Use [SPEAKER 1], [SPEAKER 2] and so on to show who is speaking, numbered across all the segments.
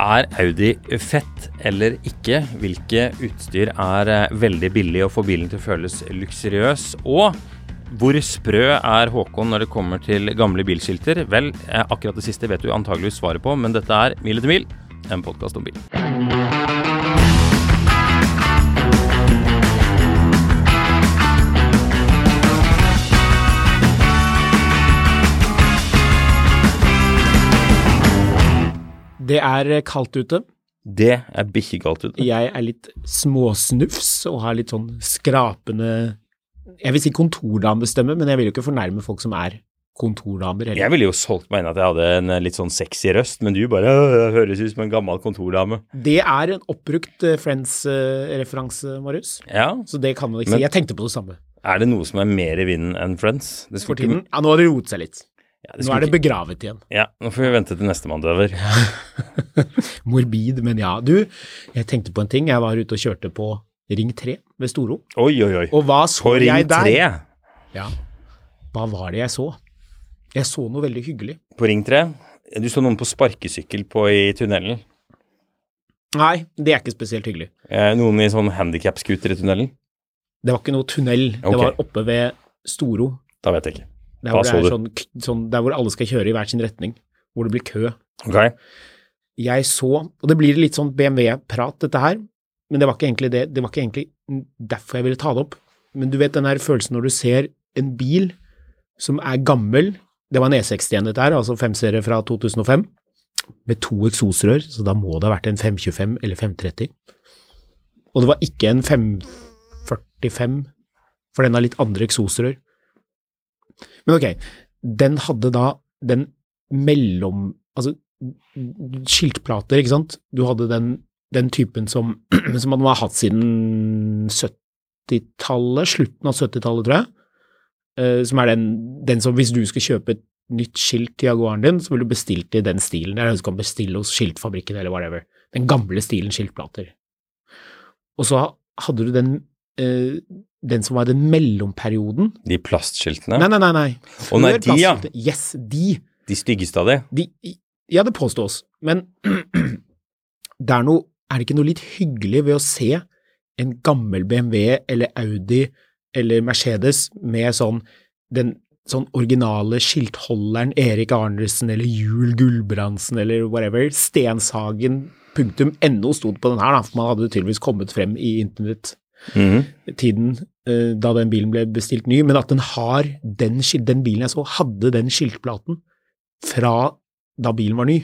[SPEAKER 1] Er Audi fett eller ikke? Hvilke utstyr er eh, veldig billig og får bilen til å føles luksuriøs? Og hvor sprø er Håkon når det kommer til gamle bilskilter? Vel, eh, akkurat det siste vet du antageligvis svaret på, men dette er Mil etter mil, en podkast om bil.
[SPEAKER 2] Det er kaldt ute.
[SPEAKER 1] Det er bikkjegalt ut.
[SPEAKER 2] Jeg er litt småsnufs og har litt sånn skrapende Jeg vil si kontordamestemme, men jeg vil jo ikke fornærme folk som er kontordamer. Heller.
[SPEAKER 1] Jeg ville jo solgt meg inn at jeg hadde en eh, litt sånn sexy røst, men du bare «Øh, høres ut som en gammel kontordame.
[SPEAKER 2] Det er en oppbrukt eh, Friends-referanse, Marius.
[SPEAKER 1] Ja,
[SPEAKER 2] Så det kan man ikke
[SPEAKER 1] Men-
[SPEAKER 2] si. Jeg tenkte på det samme
[SPEAKER 1] er det noe som er mer i vinden enn Friends? Det
[SPEAKER 2] for
[SPEAKER 1] skulle ikke-
[SPEAKER 2] tiden. Ja, nå har det roet seg litt.
[SPEAKER 1] Ja,
[SPEAKER 2] Nå
[SPEAKER 1] skulle
[SPEAKER 2] er det
[SPEAKER 1] ikke-
[SPEAKER 2] begravet igjen.
[SPEAKER 1] Ja, nå får vi vente til nestemann døver.
[SPEAKER 2] Morbid, men ja. Du, jeg tenkte på en ting. Jeg var ute og kjørte på Ring 3 ved Storo.
[SPEAKER 1] Oi, oi, oi.
[SPEAKER 2] Og hva så
[SPEAKER 1] På ring
[SPEAKER 2] jeg der?
[SPEAKER 1] 3.
[SPEAKER 2] Ja. Hva var det jeg så? Jeg så noe veldig hyggelig.
[SPEAKER 1] På ring 3. Du så noen på sparkesykkel på i tunnelen.
[SPEAKER 2] Nei, det er ikke spesielt hyggelig.
[SPEAKER 1] Eh, noen i sånn handikap-scooter i tunnelen.
[SPEAKER 2] Det var ikke noe tunnel.
[SPEAKER 1] Ok.
[SPEAKER 2] Det var oppe ved Storo,
[SPEAKER 1] Da vet jeg ikke.
[SPEAKER 2] der
[SPEAKER 1] Hva
[SPEAKER 2] hvor, det
[SPEAKER 1] så
[SPEAKER 2] er
[SPEAKER 1] du?
[SPEAKER 2] sånn, k- sånn, der hvor alle skal kjøre i hver sin retning, hvor det blir kø.
[SPEAKER 1] Ok.
[SPEAKER 2] Jeg så, og det blir litt sånn BMW-prat dette her, men det var ikke egentlig det, det var ikke egentlig derfor jeg ville ta det opp. Men du vet den her følelsen når du ser en bil som er gammel, det var en E61 dette her, altså 5-serie fra 2005, med to eksosrør, så da må det ha vært en 525 eller 530. Og det var ikke en 545, for den har litt andre eksosrør. Men ok, den hadde da den mellom Altså skiltplater, ikke sant. Du hadde den, den typen som, som man har hatt siden 70-tallet, slutten av 70-tallet, tror jeg. Eh, som er den, den som hvis du skal kjøpe et nytt skilt til Jaguaren din, så vil du bestille det i den stilen. Det er den du kan bestille hos skiltfabrikken eller whatever. Den gamle stilen skiltplater. Og så hadde du den, eh, den som var den mellomperioden.
[SPEAKER 1] De plastskiltene.
[SPEAKER 2] Nei, nei, nei. nei.
[SPEAKER 1] Å nei,
[SPEAKER 2] Før
[SPEAKER 1] de, ja.
[SPEAKER 2] plastskiltet- Yes, de.
[SPEAKER 1] De styggeste av de.
[SPEAKER 2] De, ja, det påstås, men det er, noe, er det ikke noe litt hyggelig ved å se en gammel BMW eller Audi eller Mercedes med sånn, den sånn originale skiltholderen Erik Arnesen eller Jul Gulbrandsen eller whatever, Stenshagen punktum NO stod på den her, da, for man hadde jo tydeligvis kommet frem i internett
[SPEAKER 1] Mhm.
[SPEAKER 2] tiden eh, da den bilen ble bestilt ny, men at den har den, skil- den bilen jeg så, hadde den skiltplaten fra da bilen var ny.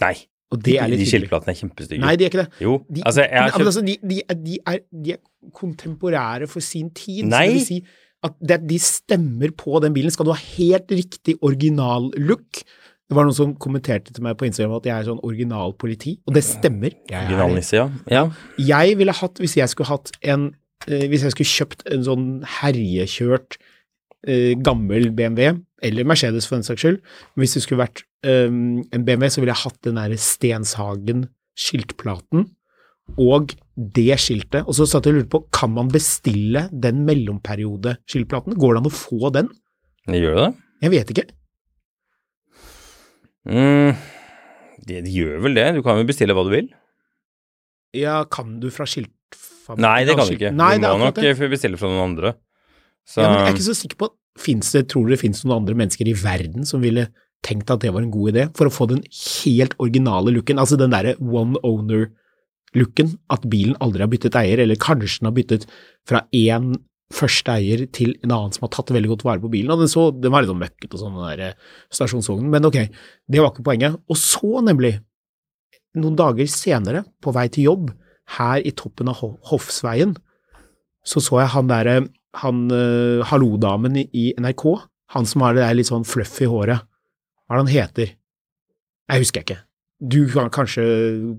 [SPEAKER 1] Nei.
[SPEAKER 2] Og det er litt
[SPEAKER 1] de
[SPEAKER 2] hyggelig.
[SPEAKER 1] skiltplatene er kjempestygge.
[SPEAKER 2] Nei, de er ikke det.
[SPEAKER 1] jo,
[SPEAKER 2] De,
[SPEAKER 1] altså, jeg har
[SPEAKER 2] men,
[SPEAKER 1] kjøpt
[SPEAKER 2] altså, de, de, er- de, er, de er kontemporære for sin tid. så
[SPEAKER 1] Nei.
[SPEAKER 2] det vil Si at det, de stemmer på den bilen. Skal du ha helt riktig original-look? Det var noen som kommenterte til meg på Instagram at jeg er sånn originalpoliti, og det stemmer. Jeg er det.
[SPEAKER 1] originalnisse, ja. ja.
[SPEAKER 2] Jeg ville hatt, hvis jeg skulle hatt en eh, Hvis jeg skulle kjøpt en sånn herjekjørt eh, gammel BMW, eller Mercedes for den saks skyld, men hvis det skulle vært eh, en BMW, så ville jeg hatt den derre Stenshagen-skiltplaten og det skiltet. Og så satt jeg og lurte på, kan man bestille den mellomperiode-skiltplaten? Går det an å få den?
[SPEAKER 1] Gjør du det?
[SPEAKER 2] Jeg vet ikke.
[SPEAKER 1] Mm. De, de gjør vel det. Du kan jo bestille hva du vil.
[SPEAKER 2] Ja, kan du fra skiltfabrikken?
[SPEAKER 1] Nei, det kan du ikke.
[SPEAKER 2] Nei,
[SPEAKER 1] du
[SPEAKER 2] det
[SPEAKER 1] må
[SPEAKER 2] er akkurat
[SPEAKER 1] nok
[SPEAKER 2] det.
[SPEAKER 1] eh, bestille fra noen andre. Så
[SPEAKER 2] Ja, men jeg er ikke så sikker på Finnes det, Tror du det finnes noen andre mennesker i verden som ville tenkt at det var en god idé for å få den helt originale looken, altså den derre one owner-looken, at bilen aldri har byttet eier, eller kanskje den har byttet fra én første eier til en annen som har tatt veldig godt vare på bilen. og Den, så, den var litt sånn møkket og sånn, den der eh, stasjonsvognen, men ok, det var ikke poenget. Og så nemlig, noen dager senere, på vei til jobb, her i toppen av Ho- Hofsveien, så så jeg han derre han eh, hallo-damen i, i NRK, han som har det der litt sånn fluff i håret. Hva er det han heter? Jeg husker ikke. Du kan kanskje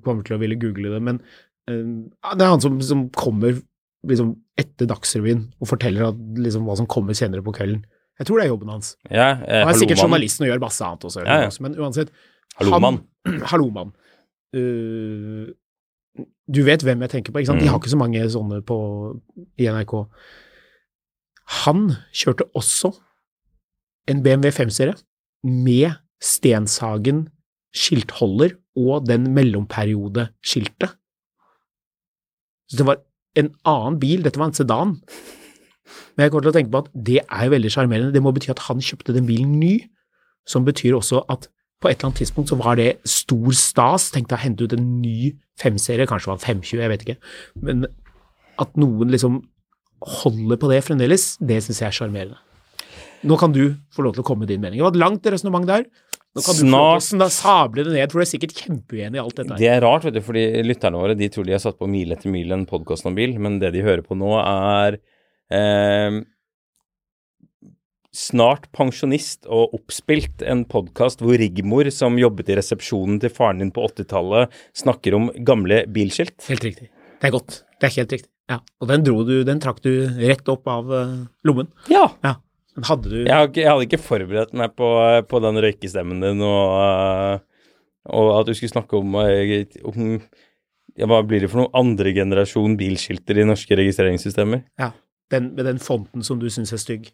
[SPEAKER 2] kommer til å ville google det, men eh, det er han som, som kommer liksom etter Dagsrevyen og forteller at, liksom, hva som kommer senere på kvelden. Jeg tror det er jobben hans.
[SPEAKER 1] Ja, eh,
[SPEAKER 2] Han er
[SPEAKER 1] hallo,
[SPEAKER 2] sikkert
[SPEAKER 1] mann.
[SPEAKER 2] journalisten og gjør masse annet også,
[SPEAKER 1] Ja, ja.
[SPEAKER 2] også, men uansett.
[SPEAKER 1] Hallo,
[SPEAKER 2] han-
[SPEAKER 1] mann.
[SPEAKER 2] Hallo, mann. Uh, du vet hvem jeg tenker på, ikke sant?
[SPEAKER 1] Mm.
[SPEAKER 2] De har ikke så mange sånne på, i NRK. Han kjørte også en BMW 5-serie med Stenshagen skiltholder og den mellomperiodeskiltet. Så det var en annen bil, dette var en sedan. Men jeg kommer til å tenke på at det er jo veldig sjarmerende. Det må bety at han kjøpte den bilen ny, som betyr også at på et eller annet tidspunkt så var det stor stas, tenkte jeg å hente ut en ny 5-serie, kanskje det var en 520, jeg vet ikke. Men at noen liksom holder på det fremdeles, det syns jeg er sjarmerende. Nå kan du få lov til å komme med din mening. Det var et langt resonnement der. Nå kan du få lov til å sable det ned, for du er sikkert kjempeuenig i alt dette her.
[SPEAKER 1] Det er rart, vet du, fordi lytterne våre de tror de har satt på mil etter mil en podkast om bil, men det de hører på nå, er eh, Snart pensjonist og oppspilt, en podkast hvor Rigmor, som jobbet i resepsjonen til faren din på 80-tallet, snakker om gamle bilskilt.
[SPEAKER 2] Helt riktig. Det er godt. Det er helt riktig. Ja. Og den dro du, den trakk du rett opp av eh, lommen.
[SPEAKER 1] Ja!
[SPEAKER 2] Ja. Den hadde du
[SPEAKER 1] Jeg, har ikke, jeg hadde ikke forberedt meg på, på den røykestemmen din og, eh, og at du skulle snakke om, eh, om ja, Hva blir det for noe? Andre generasjon bilskilter i norske registreringssystemer?
[SPEAKER 2] ja, den, med den fonten som du syns er stygg.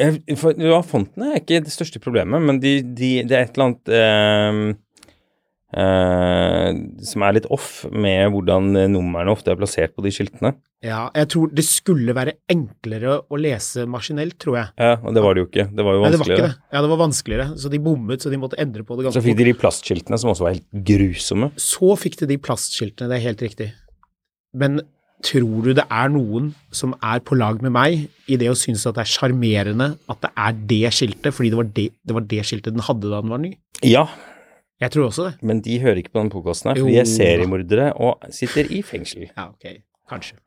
[SPEAKER 1] Jeg- for- Ja, fontene er ikke det største problemet, men de, de, det er et eller annet ehm, eh, som er litt off med hvordan numrene ofte er plassert på de skiltene.
[SPEAKER 2] Ja, jeg tror det skulle være enklere å lese maskinelt, tror jeg.
[SPEAKER 1] Ja, og det var det jo ikke. Det var jo
[SPEAKER 2] Nei, det var ikke
[SPEAKER 1] vanskeligere.
[SPEAKER 2] det. Ja, det var vanskeligere, så de bommet, så de måtte endre på det
[SPEAKER 1] Så
[SPEAKER 2] ganske
[SPEAKER 1] fikk
[SPEAKER 2] fort.
[SPEAKER 1] de de plastskiltene som også var helt grusomme.
[SPEAKER 2] Så fikk de de plastskiltene, det er helt riktig. Men tror du det er noen som er på lag med meg i det å synes at det er sjarmerende at det er det skiltet, fordi det var det, det var det skiltet den hadde da den var ny?
[SPEAKER 1] Ja,
[SPEAKER 2] Jeg tror også det.
[SPEAKER 1] men de hører ikke på den podkasten her, for
[SPEAKER 2] Jo.
[SPEAKER 1] de er seriemordere og sitter i fengsel.
[SPEAKER 2] Ja, ok. Kanskje.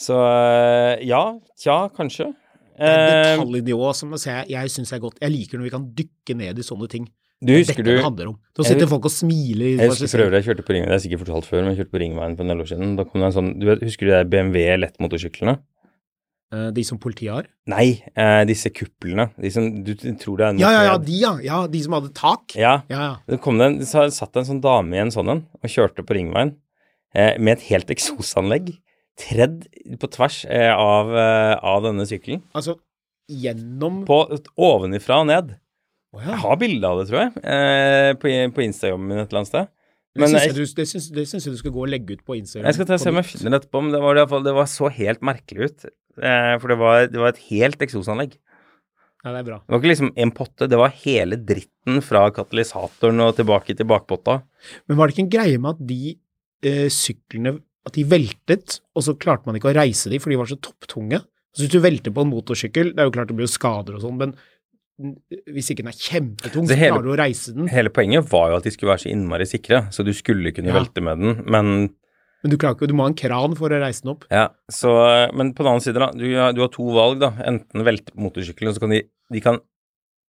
[SPEAKER 1] Så eh, ja, tja, kanskje.
[SPEAKER 2] Det er
[SPEAKER 1] Eh,
[SPEAKER 2] detaljnivå som jeg, ser- jeg syns er godt. Jeg liker når vi kan dykke ned i sånne ting.
[SPEAKER 1] du husker
[SPEAKER 2] Dette
[SPEAKER 1] du
[SPEAKER 2] det handler om. Nå
[SPEAKER 1] Jeg-
[SPEAKER 2] sitter folk og smiler.
[SPEAKER 1] Jeg husker for øvrig jeg kjørte på Ringveien, det har jeg sikkert fortalt før, men jeg kjørte på Ringveien for en del år siden. Da kom det en sånn, du vet, Husker du de der BMW lettmotorsyklene?
[SPEAKER 2] Eh, De som politiet har?
[SPEAKER 1] Nei, eh, disse kuplene. De som du t- tror det er en
[SPEAKER 2] Ja, ja, ja,
[SPEAKER 1] moped.
[SPEAKER 2] de, ja. ja de som hadde tak.
[SPEAKER 1] ja.
[SPEAKER 2] Ja, ja.
[SPEAKER 1] Det kom det en, så satt det en sånn dame i en sånn en og kjørte på Ringveien eh, med et helt eksosanlegg tredd på tvers eh, av, eh, av denne sykkelen.
[SPEAKER 2] Altså gjennom
[SPEAKER 1] På ovenifra og ned.
[SPEAKER 2] Å
[SPEAKER 1] Jeg
[SPEAKER 2] ja.
[SPEAKER 1] har bilde av det, tror jeg, eh, på, på Insta-jobben min et eller annet sted.
[SPEAKER 2] Det
[SPEAKER 1] Men
[SPEAKER 2] syns
[SPEAKER 1] jeg-
[SPEAKER 2] jeg, du- det syns- det syns jeg du skal gå og legge ut på Instagram.
[SPEAKER 1] Jeg skal ta og se om jeg finner det etterpå, men det var, i hvert fall, det var så helt merkelig ut. Eh, for det var, det var et helt eksosanlegg. Det
[SPEAKER 2] Ja, det er bra.
[SPEAKER 1] var ikke liksom en potte, det var hele dritten fra katalysatoren og tilbake til bakpotta.
[SPEAKER 2] Men var det ikke en greie med at de eh, syklene at de veltet, og så klarte man ikke å reise de, for de var så topptunge? Så hvis du velter på en motorsykkel, det er jo klart det blir jo skader og sånn, men mm, hvis ikke den er kjempetung,
[SPEAKER 1] Det
[SPEAKER 2] så
[SPEAKER 1] hele-
[SPEAKER 2] klarer du å reise den,
[SPEAKER 1] Hele poenget var jo at de skulle være så innmari sikre, så du skulle kunne
[SPEAKER 2] Ja.
[SPEAKER 1] velte med den. Men,
[SPEAKER 2] men du klarer ikke, du må ha en kran for å reise den opp.
[SPEAKER 1] ja, så, men på den annen side, da. Du, har- du har to valg, da. Enten velte motorsykkelen, og så kan de, de kan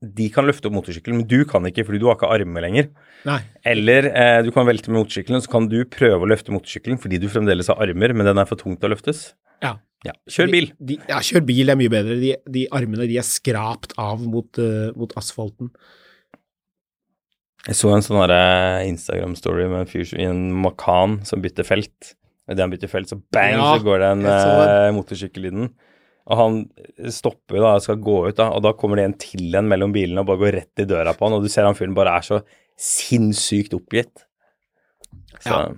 [SPEAKER 1] de kan løfte opp motorsykkelen, men du kan ikke fordi du har ikke armer lenger.
[SPEAKER 2] Nei.
[SPEAKER 1] Eller eh, du kan velte med motorsykkelen, så kan du prøve å løfte motorsykkelen fordi du fremdeles har armer, men den er for tung til å løftes.
[SPEAKER 2] Ja.
[SPEAKER 1] Ja, kjør bil.
[SPEAKER 2] De, de, ja, kjør bil er mye bedre. De, de armene de er skrapt av mot, eh, mot asfalten.
[SPEAKER 1] Jeg så en sånn derre Instagram-story med en fyr som- i en Macan som bytter felt. Og Idet han bytter felt, så bang,
[SPEAKER 2] Ja,
[SPEAKER 1] så går det en
[SPEAKER 2] jeg så
[SPEAKER 1] eh, motorsykkel i den. Og han stopper jo da og skal gå ut, da, og da kommer det en til en mellom bilene og bare går rett i døra på han, og du ser han fyren bare er så sinnssykt oppgitt. Så
[SPEAKER 2] Ja.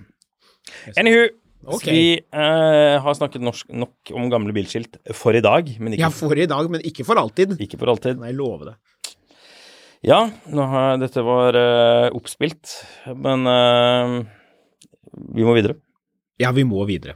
[SPEAKER 1] Anywho,
[SPEAKER 2] Ok.
[SPEAKER 1] vi eh, har snakket norsk, nok om gamle bilskilt for i dag, men ikke,
[SPEAKER 2] Ja, for i dag, men ikke for alltid.
[SPEAKER 1] ikke for alltid.
[SPEAKER 2] Nei, love det.
[SPEAKER 1] Ja, nå har jeg, dette var eh, oppspilt, men eh, vi må videre.
[SPEAKER 2] Ja, vi må videre.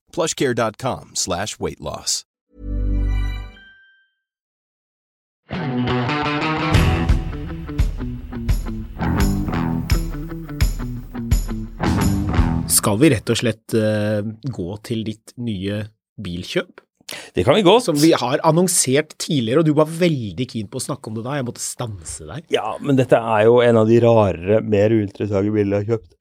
[SPEAKER 3] plushcare.com slash weight loss.
[SPEAKER 2] Skal vi rett og slett eh, gå til ditt nye bilkjøp,
[SPEAKER 1] Det kan vi godt.
[SPEAKER 2] som vi har annonsert tidligere, og du var veldig keen på å snakke om det da. Jeg måtte stanse deg.
[SPEAKER 1] Ja, men dette er jo en av de rarere, mer uinteressante bilene jeg har kjøpt.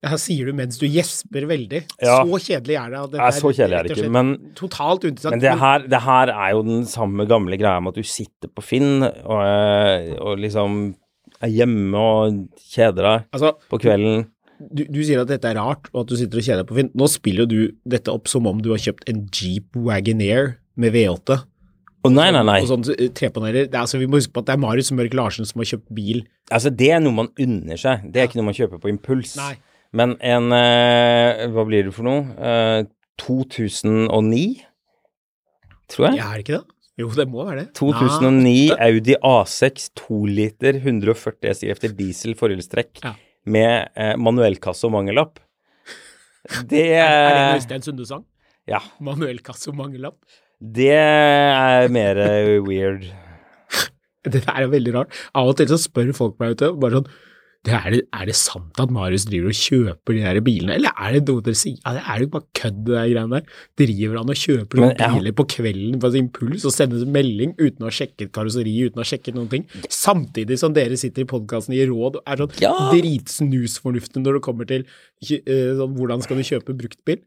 [SPEAKER 2] Ja, sier du mens du gjesper veldig.
[SPEAKER 1] Ja.
[SPEAKER 2] Så kjedelig er det. at dette
[SPEAKER 1] Nei, så kjedelig er det
[SPEAKER 2] rett og
[SPEAKER 1] ikke,
[SPEAKER 2] slett
[SPEAKER 1] men-
[SPEAKER 2] Totalt uinteressant.
[SPEAKER 1] Men det her, det her er jo den samme gamle greia med at du sitter på Finn og, eh, og liksom er hjemme og kjeder deg
[SPEAKER 2] Altså,
[SPEAKER 1] på kvelden.
[SPEAKER 2] du, du sier at dette er rart, og at du sitter og kjeder deg på Finn. Nå spiller jo du dette opp som om du har kjøpt en Jeep Wagoneer med V8
[SPEAKER 1] Å nei, nei, nei.
[SPEAKER 2] og sånn eh, trepaneler. Det er, altså, vi må huske på at det er Marius Mørk Larsen som har kjøpt bil.
[SPEAKER 1] Altså, det er noe man unner seg. Det er ikke noe man kjøper på impuls.
[SPEAKER 2] Nei.
[SPEAKER 1] Men en eh, Hva blir det for noe? Eh, 2009, tror jeg.
[SPEAKER 2] Ja, er det ikke det? Jo, det må være det.
[SPEAKER 1] 2009 Audi A6 2 liter 140 hestekrefter diesel forhjulstrekk
[SPEAKER 2] Ja.
[SPEAKER 1] med eh, manuellkasse og mangellapp. Det
[SPEAKER 2] Nei, er det en Øystein Sunde-sang?
[SPEAKER 1] Ja.
[SPEAKER 2] Manuel Casso Mangelapp?
[SPEAKER 1] Det er mer eh, weird.
[SPEAKER 2] Det der er veldig rart. Av og til så spør folk meg ute, bare sånn det er, det, er det sant at Marius driver og kjøper de der bilene, eller er det noe dere sier? Ja, det er jo bare kødd, det der greiene der. Driver han og kjøper noen
[SPEAKER 1] Men jeg-
[SPEAKER 2] biler på kvelden på sin impuls og sender en melding uten å ha sjekket karosseri, uten å ha sjekket noen ting, samtidig som dere sitter i podkasten og gir råd og er sånn
[SPEAKER 1] Ja.
[SPEAKER 2] dritsnusfornuftig når det kommer til kjø- eh, sånn, hvordan skal du kjøpe bruktbil?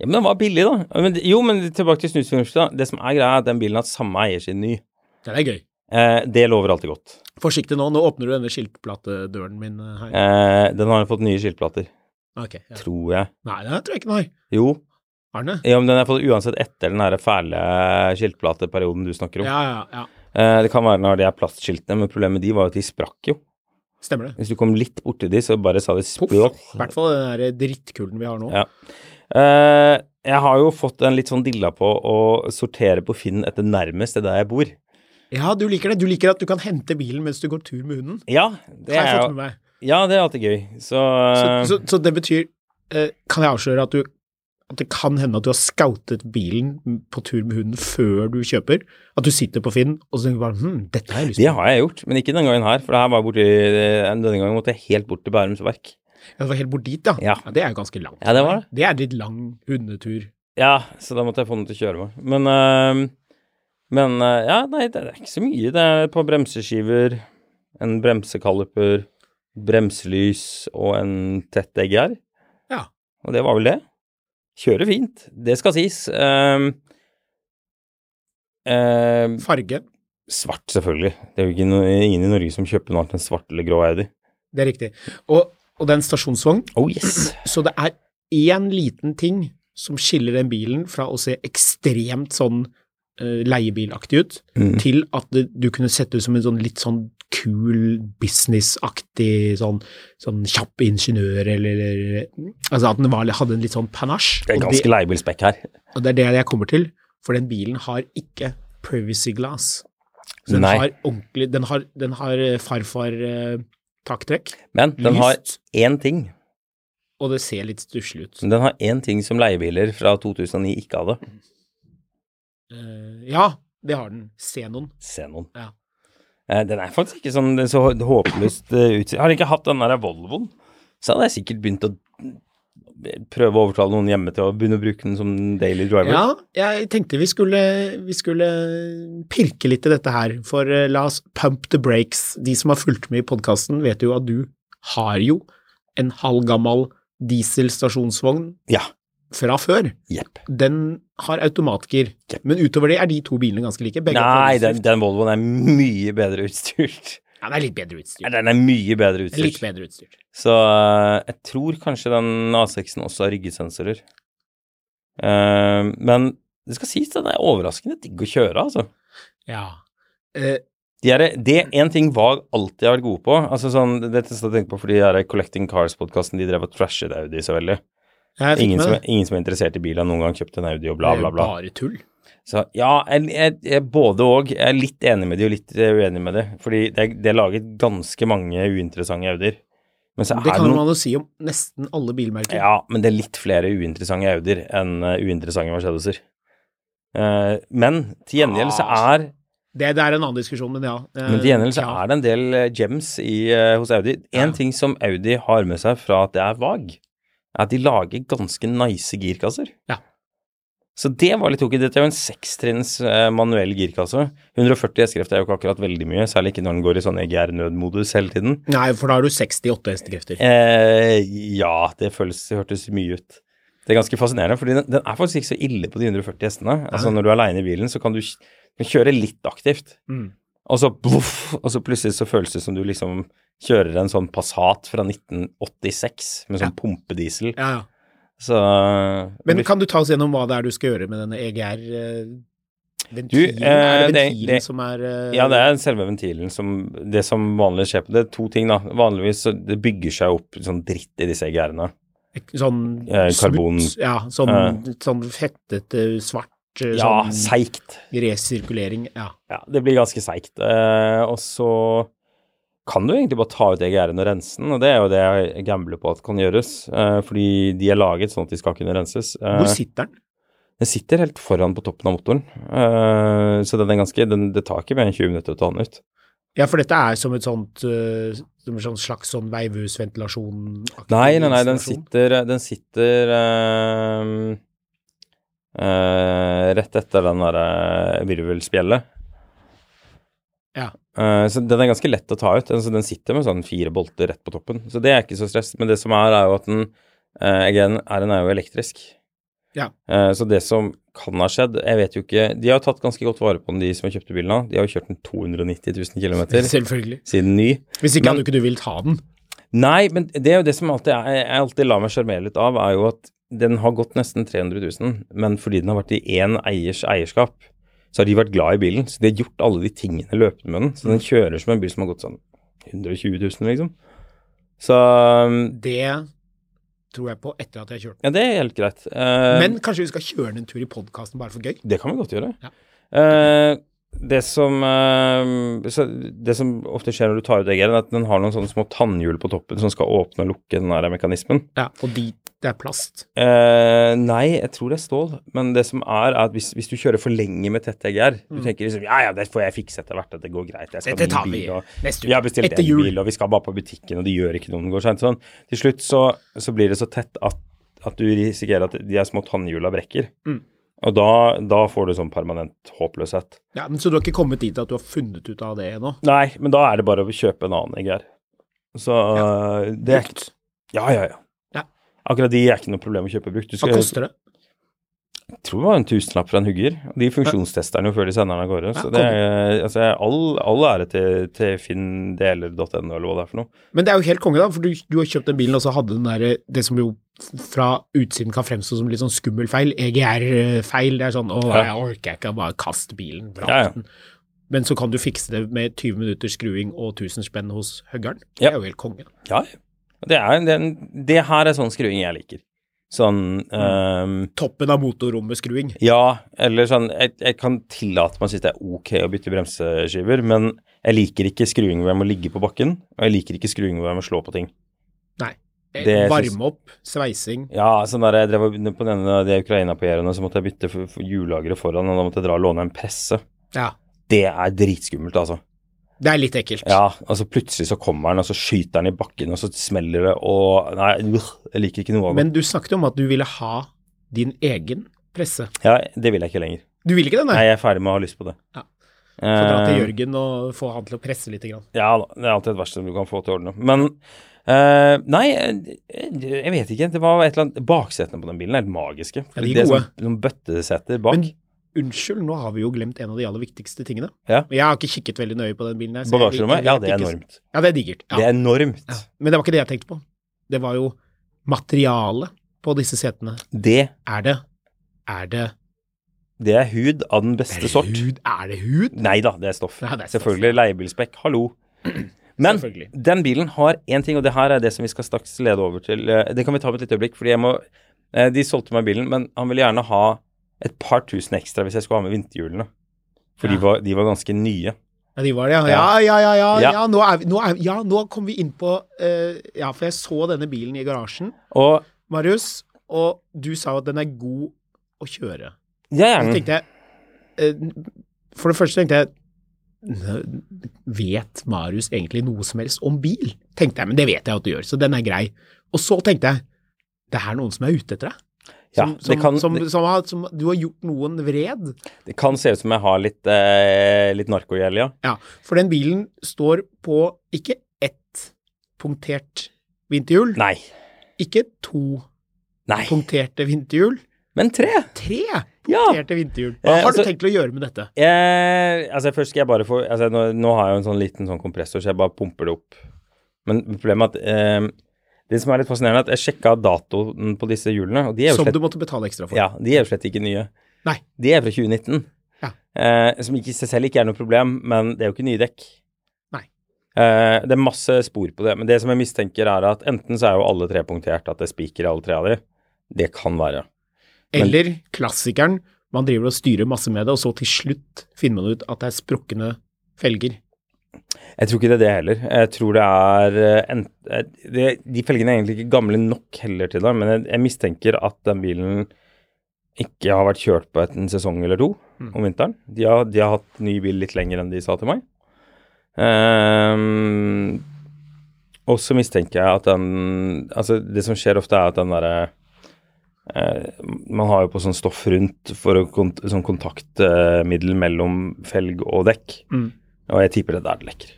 [SPEAKER 1] Ja, men den var billig, da. Ja, Men, jo, men tilbake til snusfornuftet. da. Det som er greia, er at den bilen har samme eier siden ny.
[SPEAKER 2] Ja, det er gøy.
[SPEAKER 1] Eh, det lover alltid godt.
[SPEAKER 2] Forsiktig nå, nå åpner du denne skiltplatedøren min eh, her.
[SPEAKER 1] Eh, den har fått nye skiltplater,
[SPEAKER 2] Ok. Ja.
[SPEAKER 1] tror jeg.
[SPEAKER 2] Nei, det tror jeg ikke den har.
[SPEAKER 1] Jo,
[SPEAKER 2] Har den det?
[SPEAKER 1] ja, men den har fått uansett etter den der fæle skiltplateperioden du snakker om.
[SPEAKER 2] Ja, ja, ja.
[SPEAKER 1] Eh, det kan være når de er plastskiltene, men problemet med de var jo at de sprakk jo.
[SPEAKER 2] Stemmer det.
[SPEAKER 1] Hvis du kom litt borti de, så bare sa de
[SPEAKER 2] Poff.
[SPEAKER 1] språk.
[SPEAKER 2] I hvert fall den der drittkulden vi har nå.
[SPEAKER 1] Ja. Eh, jeg har jo fått en litt sånn dilla på å sortere på Finn etter nærmest det der jeg bor.
[SPEAKER 2] Ja, du liker det. Du liker at du kan hente bilen mens du går tur med hunden.
[SPEAKER 1] Ja,
[SPEAKER 2] Det
[SPEAKER 1] det
[SPEAKER 2] har
[SPEAKER 1] er
[SPEAKER 2] jeg fått
[SPEAKER 1] jo
[SPEAKER 2] med meg.
[SPEAKER 1] Ja, det er alltid gøy. Så,
[SPEAKER 2] Så,
[SPEAKER 1] eh,
[SPEAKER 2] så, så det betyr eh, Kan jeg avsløre at du at det kan hende at du har scoutet bilen på tur med hunden før du kjøper? At du sitter på Finn og så tenker du bare hm, dette har jeg lyst
[SPEAKER 1] det
[SPEAKER 2] til.
[SPEAKER 1] har jeg gjort, men ikke den gangen her. For det her var borti eh, Denne gangen måtte jeg helt bort til Bærums Verk.
[SPEAKER 2] Ja, det var helt bort dit, da.
[SPEAKER 1] Ja.
[SPEAKER 2] det er jo ganske langt.
[SPEAKER 1] Ja, det var det.
[SPEAKER 2] Det er litt lang hundetur.
[SPEAKER 1] Ja, så da måtte jeg få noen til å kjøre meg. Men eh, Men eh, ja, nei, det er ikke så mye. Det er et par bremseskiver, en bremsekaliper, bremselys og en tett egg her.
[SPEAKER 2] Ja.
[SPEAKER 1] Og det var vel det. Kjører fint, det skal sies. Ehm, ehm,
[SPEAKER 2] Farge,
[SPEAKER 1] svart, selvfølgelig. Det er jo ikke no ingen i Norge som kjøper noe annet enn svart eller grå Audi.
[SPEAKER 2] det er riktig. Og, og den stasjonsvogn
[SPEAKER 1] Oh yes!
[SPEAKER 2] Så det er én liten ting som skiller den bilen fra å se ekstremt sånn eh, leiebilaktig ut,
[SPEAKER 1] Mm.
[SPEAKER 2] til at det, du kunne sett ut som en sånn litt sånn kul, businessaktig sånn, sånn kjapp ingeniør, eller, eller Altså at den var, hadde en litt sånn panache.
[SPEAKER 1] Det er
[SPEAKER 2] og,
[SPEAKER 1] ganske
[SPEAKER 2] det,
[SPEAKER 1] leiebilspekk her.
[SPEAKER 2] og det er det jeg kommer til, for den bilen har ikke privacy glass. Så den
[SPEAKER 1] Nei.
[SPEAKER 2] har ordentlig Den har, den har eh, farfar-takktrekk,
[SPEAKER 1] Men den har
[SPEAKER 2] Lyst.
[SPEAKER 1] én ting.
[SPEAKER 2] og det ser litt stusslig ut.
[SPEAKER 1] Den har én ting som leiebiler fra 2009 ikke hadde.
[SPEAKER 2] Eh, ja, det har den. Xenon.
[SPEAKER 1] Xenon.
[SPEAKER 2] Ja.
[SPEAKER 1] Eh, Den er faktisk ikke sånn så hå- håpløst eh, utseende. Hadde jeg ikke hatt den der Volvoen, så hadde jeg sikkert begynt å prøve å overtale noen hjemme til å begynne å bruke den som daily driver.
[SPEAKER 2] Ja, jeg tenkte vi skulle, vi skulle pirke litt i dette her, for eh, la oss pump the breaks. De som har fulgt med i podkasten, vet jo at du har jo en halvgammal dieselstasjonsvogn
[SPEAKER 1] Ja.
[SPEAKER 2] fra før.
[SPEAKER 1] Jepp.
[SPEAKER 2] Den har automatgir,
[SPEAKER 1] Yep.
[SPEAKER 2] men utover det er de to bilene ganske like. Begge har
[SPEAKER 1] Nei, den,
[SPEAKER 2] forhjulsdrift.
[SPEAKER 1] den Volvoen er mye bedre utstyrt.
[SPEAKER 2] ja, den er litt bedre
[SPEAKER 1] Nei,
[SPEAKER 2] utstyrt.
[SPEAKER 1] Den er mye bedre
[SPEAKER 2] Litt
[SPEAKER 1] utstyrt.
[SPEAKER 2] bedre utstyrt.
[SPEAKER 1] Så eh, jeg tror kanskje den A6-en også har ryggesensorer. Eh, men det skal sies, den er overraskende digg å kjøre, altså.
[SPEAKER 2] Ja. Eh,
[SPEAKER 1] De er, det en ting Vag alltid har vært gode på altså sånn, Dette skal jeg tenke på fordi de her Collecting Cars-podkasten de drev og trashet Audi så veldig.
[SPEAKER 2] jeg fikk
[SPEAKER 1] Ingen
[SPEAKER 2] med
[SPEAKER 1] som,
[SPEAKER 2] det.
[SPEAKER 1] ingen som er interessert i biler, har noen gang kjøpt en Audi og bla,
[SPEAKER 2] Det er
[SPEAKER 1] bla,
[SPEAKER 2] jo
[SPEAKER 1] bla.
[SPEAKER 2] Bare tull.
[SPEAKER 1] Så ja, jeg, jeg, jeg, både og. Jeg er litt enig med de og litt eh, uenig med de. Fordi det er, det er laget ganske mange uinteressante Audier. Men så
[SPEAKER 2] Det
[SPEAKER 1] er
[SPEAKER 2] kan
[SPEAKER 1] det noen
[SPEAKER 2] man jo si om nesten alle bilmerker.
[SPEAKER 1] Ja, men det er litt flere uinteressante Audier enn eh, uinteressante Mercedeser. Eh, men til gjengjeld så
[SPEAKER 2] Ah,
[SPEAKER 1] er
[SPEAKER 2] Det, det er en annen diskusjon, men ja. Eh,
[SPEAKER 1] Men til gjengjeld så
[SPEAKER 2] ja.
[SPEAKER 1] er det en del eh, gems i, eh, hos Audi. En
[SPEAKER 2] Ja.
[SPEAKER 1] ting som Audi har med seg fra at det er vag, er at de lager ganske nice girkasser.
[SPEAKER 2] Ja.
[SPEAKER 1] Så det var litt ok. Dette er jo en sekstrinns eh, manuell girkasse. 140 hestekrefter er jo ikke akkurat veldig mye, særlig ikke når den går i sånn EGR-nødmodus hele tiden.
[SPEAKER 2] Nei, for da har du 68 hestekrefter.
[SPEAKER 1] Eh, ja, det føles, det hørtes mye ut. Det er ganske fascinerende, fordi den, den er faktisk ikke så ille på de 140 hestene. Altså Når du er aleine i bilen, så kan du kj- kan kjøre litt aktivt.
[SPEAKER 2] Mm.
[SPEAKER 1] Og så bluff, og så plutselig så føles det som du liksom kjører en sånn Passat fra 1986 med sånn pumpediesel.
[SPEAKER 2] Ja, ja.
[SPEAKER 1] Så
[SPEAKER 2] Men
[SPEAKER 1] det blir-
[SPEAKER 2] kan du ta oss gjennom hva det er du skal gjøre med denne EGR? eh, Ventilen?
[SPEAKER 1] Du, eh,
[SPEAKER 2] er det
[SPEAKER 1] det-
[SPEAKER 2] ventilen
[SPEAKER 1] det-
[SPEAKER 2] som er eh,
[SPEAKER 1] Ja, det er selve ventilen som Det som vanligvis skjer på Det er to ting, da. Vanligvis så det bygger seg opp sånn dritt i disse EGR-ene.
[SPEAKER 2] sånn
[SPEAKER 1] eh, karbon-
[SPEAKER 2] smuts, Ja, sånn,
[SPEAKER 1] eh.
[SPEAKER 2] sånn fettete, svart, eh,
[SPEAKER 1] Ja,
[SPEAKER 2] sånn
[SPEAKER 1] seigt.
[SPEAKER 2] resirkulering. Ja.
[SPEAKER 1] Ja, det blir ganske seigt. Eh, og så kan du egentlig bare ta ut EGR-en og rense den, og det er jo det jeg gambler på at kan gjøres. Eh, fordi de er laget sånn at de skal kunne renses. Eh,
[SPEAKER 2] Hvor sitter den?
[SPEAKER 1] Den sitter helt foran på toppen av motoren, eh, så den er ganske, den, det tar ikke mer enn 20 minutter å ta den ut.
[SPEAKER 2] Ja, for dette er som et sånt eh, som en sånn slags sånn veivhusventilasjon
[SPEAKER 1] Nei, nei, nei, den sitter, den sitter eh, eh, rett etter den eh, derre virvelspjeldet.
[SPEAKER 2] Ja.
[SPEAKER 1] Eh, så den er ganske lett å ta ut. Altså, den sitter med sånn fire bolter rett på toppen, så det er ikke så stress. Men det som er, er jo at den uh, again, er, den er jo elektrisk.
[SPEAKER 2] Ja.
[SPEAKER 1] Eh, så det som kan ha skjedd, jeg vet jo ikke De har jo tatt ganske godt vare på den, de som har kjøpt bilen nå. De har jo kjørt den 290 000 km
[SPEAKER 2] Selvfølgelig.
[SPEAKER 1] siden ny.
[SPEAKER 2] Hvis ikke
[SPEAKER 1] Men-
[SPEAKER 2] hadde jo ikke du villet ha den.
[SPEAKER 1] Nei, men det er jo det som alltid er, jeg alltid lar meg sjarmere litt av, er jo at den har gått nesten 300 000, men fordi den har vært i én eiers eierskap, så har de vært glad i bilen. Så de har gjort alle de tingene løpende med den. Så den kjører som en bil som har gått sånn 120 000, liksom. Så um,
[SPEAKER 2] Det tror jeg på etter at jeg kjørte den.
[SPEAKER 1] Ja, det er helt greit. Eh,
[SPEAKER 2] Men kanskje vi skal kjøre den en tur i podkasten bare for gøy?
[SPEAKER 1] Det kan vi godt gjøre.
[SPEAKER 2] Ja.
[SPEAKER 1] Eh, det, som, eh, så det som ofte skjer når du tar ut egget, er at den har noen sånne små tannhjul på toppen som skal åpne og lukke den der mekanismen.
[SPEAKER 2] Ja. Og de, det er plast.
[SPEAKER 1] Eh, nei, jeg tror det er stål, men det som er, er at hvis, hvis du kjører for lenge med tett egger, du tenker liksom ja ja, det får jeg fikse etter hvert, at det går greit, jeg skal
[SPEAKER 2] Dette
[SPEAKER 1] ha
[SPEAKER 2] tar
[SPEAKER 1] ny
[SPEAKER 2] vi
[SPEAKER 1] bil, og
[SPEAKER 2] neste uke.
[SPEAKER 1] vi har bestilt
[SPEAKER 2] Etter
[SPEAKER 1] en
[SPEAKER 2] jul.
[SPEAKER 1] bil, og vi skal bare på butikken, og det gjør ikke noe om det går seint. Sånn. Til slutt så, så blir det så tett at, at du risikerer at de her små tannhjula brekker. Og da, da får du sånn permanent håpløshet.
[SPEAKER 2] Ja, men Så du har ikke kommet dit at du har funnet ut av det ennå?
[SPEAKER 1] Nei, men da er det bare å kjøpe en annen egger. Så eh, det er
[SPEAKER 2] Brukt.
[SPEAKER 1] Ja, ja, ja.
[SPEAKER 2] Ja.
[SPEAKER 1] Akkurat de er ikke noe problem å kjøpe brukt. Du
[SPEAKER 2] Hva koster det?
[SPEAKER 1] Jeg tror det var en tusenlapp fra en hugger. Og de funksjonstester den jo før de sender den av gårde. Så
[SPEAKER 2] Ja,
[SPEAKER 1] det er altså, all, all ære til, til finndeler.no, eller hva det er for noe.
[SPEAKER 2] Men det er jo helt konge, da, for du, du har kjøpt den bilen, og så hadde den der, det som jo fra utsiden kan fremstå som litt sånn skummel feil, EGR-feil. Det er sånn 'Å,
[SPEAKER 1] Ja.
[SPEAKER 2] jeg orker ikke, bare kast bilen', vrak
[SPEAKER 1] Ja, ja.
[SPEAKER 2] den. Men så kan du fikse det med 20 minutters skruing og 1000 spenn hos høggeren.
[SPEAKER 1] Ja.
[SPEAKER 2] Det er jo helt konge.
[SPEAKER 1] Ja, ja. Og Det, er, det, er- det her er sånn skruing jeg liker. Sånn ehm,
[SPEAKER 2] Toppen av motorrommet-skruing.
[SPEAKER 1] Ja, eller sånn Jeg, jeg kan tillate meg å synes det er ok å bytte bremseskiver, men jeg liker ikke skruing hvor jeg må ligge på bakken, og jeg liker ikke skruing hvor jeg må slå på ting.
[SPEAKER 2] Nei. Eh,
[SPEAKER 1] Det
[SPEAKER 2] Varme
[SPEAKER 1] syns-
[SPEAKER 2] opp, sveising.
[SPEAKER 1] Ja, sånn der jeg drev og på den ene av de Ukraina-papirene, så måtte jeg bytte for- for hjullageret foran, og da måtte jeg dra og låne en presse.
[SPEAKER 2] Ja.
[SPEAKER 1] Det er dritskummelt, altså.
[SPEAKER 2] Det er litt ekkelt.
[SPEAKER 1] Ja, altså plutselig så kommer han, og så skyter han i bakken, og så smeller det, og Nei, øh, jeg liker ikke noe av det.
[SPEAKER 2] Men du snakket om at du ville ha din egen presse.
[SPEAKER 1] Ja, det vil jeg ikke lenger.
[SPEAKER 2] Du vil ikke den,
[SPEAKER 1] Nei,
[SPEAKER 2] nei?
[SPEAKER 1] jeg er ferdig med å ha lyst på det.
[SPEAKER 2] Ja. Få dra til
[SPEAKER 1] Eh,
[SPEAKER 2] Jørgen og få han til å presse litt. Grann.
[SPEAKER 1] Ja da, det er alltid et verksted du kan få til å ordne. Men eh, nei, eh, jeg vet ikke. Det var et eller annet Baksetene på den bilen er helt magiske.
[SPEAKER 2] Ja, de er
[SPEAKER 1] det er
[SPEAKER 2] gode.
[SPEAKER 1] sånn- Noen bøttesetter bak.
[SPEAKER 2] Men unnskyld, nå har vi jo glemt en av de aller viktigste tingene.
[SPEAKER 1] Ja.
[SPEAKER 2] Jeg har ikke kikket veldig nøye på den bilen. her. så jeg-
[SPEAKER 1] Bagasjerommet,
[SPEAKER 2] jeg
[SPEAKER 1] ja,
[SPEAKER 2] vet
[SPEAKER 1] det er
[SPEAKER 2] ikke-
[SPEAKER 1] enormt.
[SPEAKER 2] Ja, det er digert. Ja.
[SPEAKER 1] Det er enormt.
[SPEAKER 2] Men det var ikke det jeg tenkte på. Det var jo materialet på disse setene.
[SPEAKER 1] Det,
[SPEAKER 2] Er det Er det
[SPEAKER 1] det er hud av den beste sort.
[SPEAKER 2] hud? Er det hud?
[SPEAKER 1] Nei da, det er stoff.
[SPEAKER 2] Ja, det er stoff.
[SPEAKER 1] Selvfølgelig leiebilspekk, hallo. Men
[SPEAKER 2] Selvfølgelig.
[SPEAKER 1] den bilen har én ting, og det her er det som vi skal straks lede over til. Eh, Det kan vi ta om et lite øyeblikk, fordi jeg må eh, De solgte meg bilen, men han ville gjerne ha et par tusen ekstra hvis jeg skulle ha med vinterhjulene. For de, var, de var ganske nye.
[SPEAKER 2] Ja, de var det, ja.
[SPEAKER 1] Ja.
[SPEAKER 2] Ja, ja, ja. ja, ja.
[SPEAKER 1] Ja.
[SPEAKER 2] nå, er vi, nå, er, vi- ja nå kom vi inn på eh, Ja, for jeg så denne bilen i garasjen,
[SPEAKER 1] Og
[SPEAKER 2] Marius, og du sa at den er god å kjøre.
[SPEAKER 1] jeg
[SPEAKER 2] Og
[SPEAKER 1] er
[SPEAKER 2] Så
[SPEAKER 1] den.
[SPEAKER 2] tenkte jeg eh, For det første tenkte jeg "Nå, Vet Marius egentlig noe som helst om bil? Tenkte jeg, men det vet jeg at du gjør, så den er grei. Og så tenkte jeg det er noen som er ute etter deg.
[SPEAKER 1] Ja,
[SPEAKER 2] Som,
[SPEAKER 1] det,
[SPEAKER 2] som,
[SPEAKER 1] kan,
[SPEAKER 2] som,
[SPEAKER 1] det,
[SPEAKER 2] som har, som, du har gjort noen vred.
[SPEAKER 1] det kan se ut som jeg har litt, eh, litt narkogjeld, ja.
[SPEAKER 2] Ja, for den bilen står på ikke ett punktert vinterhjul,
[SPEAKER 1] Nei.
[SPEAKER 2] ikke to
[SPEAKER 1] Nei.
[SPEAKER 2] punkterte vinterhjul,
[SPEAKER 1] Men tre!
[SPEAKER 2] tre
[SPEAKER 1] Ja.
[SPEAKER 2] punkterte vinterhjul. Hva
[SPEAKER 1] Eh,
[SPEAKER 2] har du
[SPEAKER 1] altså-
[SPEAKER 2] tenkt å gjøre med dette?
[SPEAKER 1] Eh, altså Først skal jeg bare få altså nå, nå har jeg jo en sånn liten sånn kompressor, så jeg bare pumper det opp. Men problemet er at eh, Det som er litt fascinerende, er at jeg sjekka datoen på disse hjulene, og de er jo
[SPEAKER 2] Som
[SPEAKER 1] slett,
[SPEAKER 2] du måtte betale ekstra for?
[SPEAKER 1] ja, de er jo slett ikke nye.
[SPEAKER 2] Nei.
[SPEAKER 1] De er fra 2019.
[SPEAKER 2] Ja.
[SPEAKER 1] Eh, som ikke, i seg selv ikke er noe problem, men det er jo ikke nye dekk.
[SPEAKER 2] Nei.
[SPEAKER 1] Eh, det er masse spor på det, men det som jeg mistenker, er at enten så er jo alle tre punktert, at det er spiker i alle tre av de. Det kan være.
[SPEAKER 2] Eller klassikeren, man driver og styrer masse med det, og så til slutt finner man ut at det er sprukne felger.
[SPEAKER 1] Jeg tror ikke det er det heller. Jeg tror det er eh, en, eh, det, De felgene er egentlig ikke gamle nok heller til det, men jeg, jeg mistenker at den bilen ikke har vært kjørt på et- en sesong eller to om vinteren. De har, de har hatt ny bil litt lenger enn de sa til meg. Ehm, og så mistenker jeg at den Altså, det som skjer ofte, er at den derre eh, Man har jo på sånn stoff rundt for å kont sånn kontaktmiddel mellom felg og dekk. Og jeg tipper det der det lekker.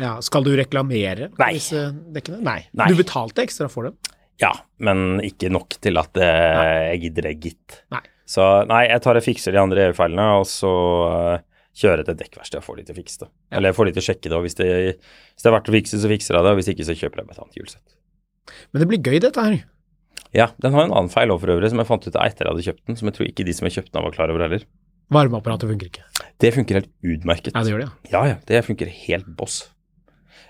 [SPEAKER 2] Ja, skal du reklamere
[SPEAKER 1] Nei.
[SPEAKER 2] disse dekkene? Nei.
[SPEAKER 1] Nei.
[SPEAKER 2] Du betalte ekstra for dem?
[SPEAKER 1] Ja, men ikke nok til at eh, jeg gidder det, gitt.
[SPEAKER 2] Nei.
[SPEAKER 1] Så nei, jeg tar og fikser de andre EU-feilene, og så eh, kjører jeg til dekkeverkstedet og får de til å fikse det. Eller jeg får de til å sjekke det, og hvis det, hvis det er verdt å fikse, så fikser jeg det. Og hvis ikke, så kjøper jeg meg et annet hjulsett.
[SPEAKER 2] Men det blir gøy, dette her.
[SPEAKER 1] Ja, den har en annen feil òg, for øvrig, som jeg fant ut etter jeg hadde kjøpt den, som jeg tror ikke de som jeg kjøpte den, var klar over heller.
[SPEAKER 2] Varmeapparatet funker ikke.
[SPEAKER 1] Det funker helt utmerket.
[SPEAKER 2] Ja, det gjør det, ja.
[SPEAKER 1] Ja, ja, det funker helt boss.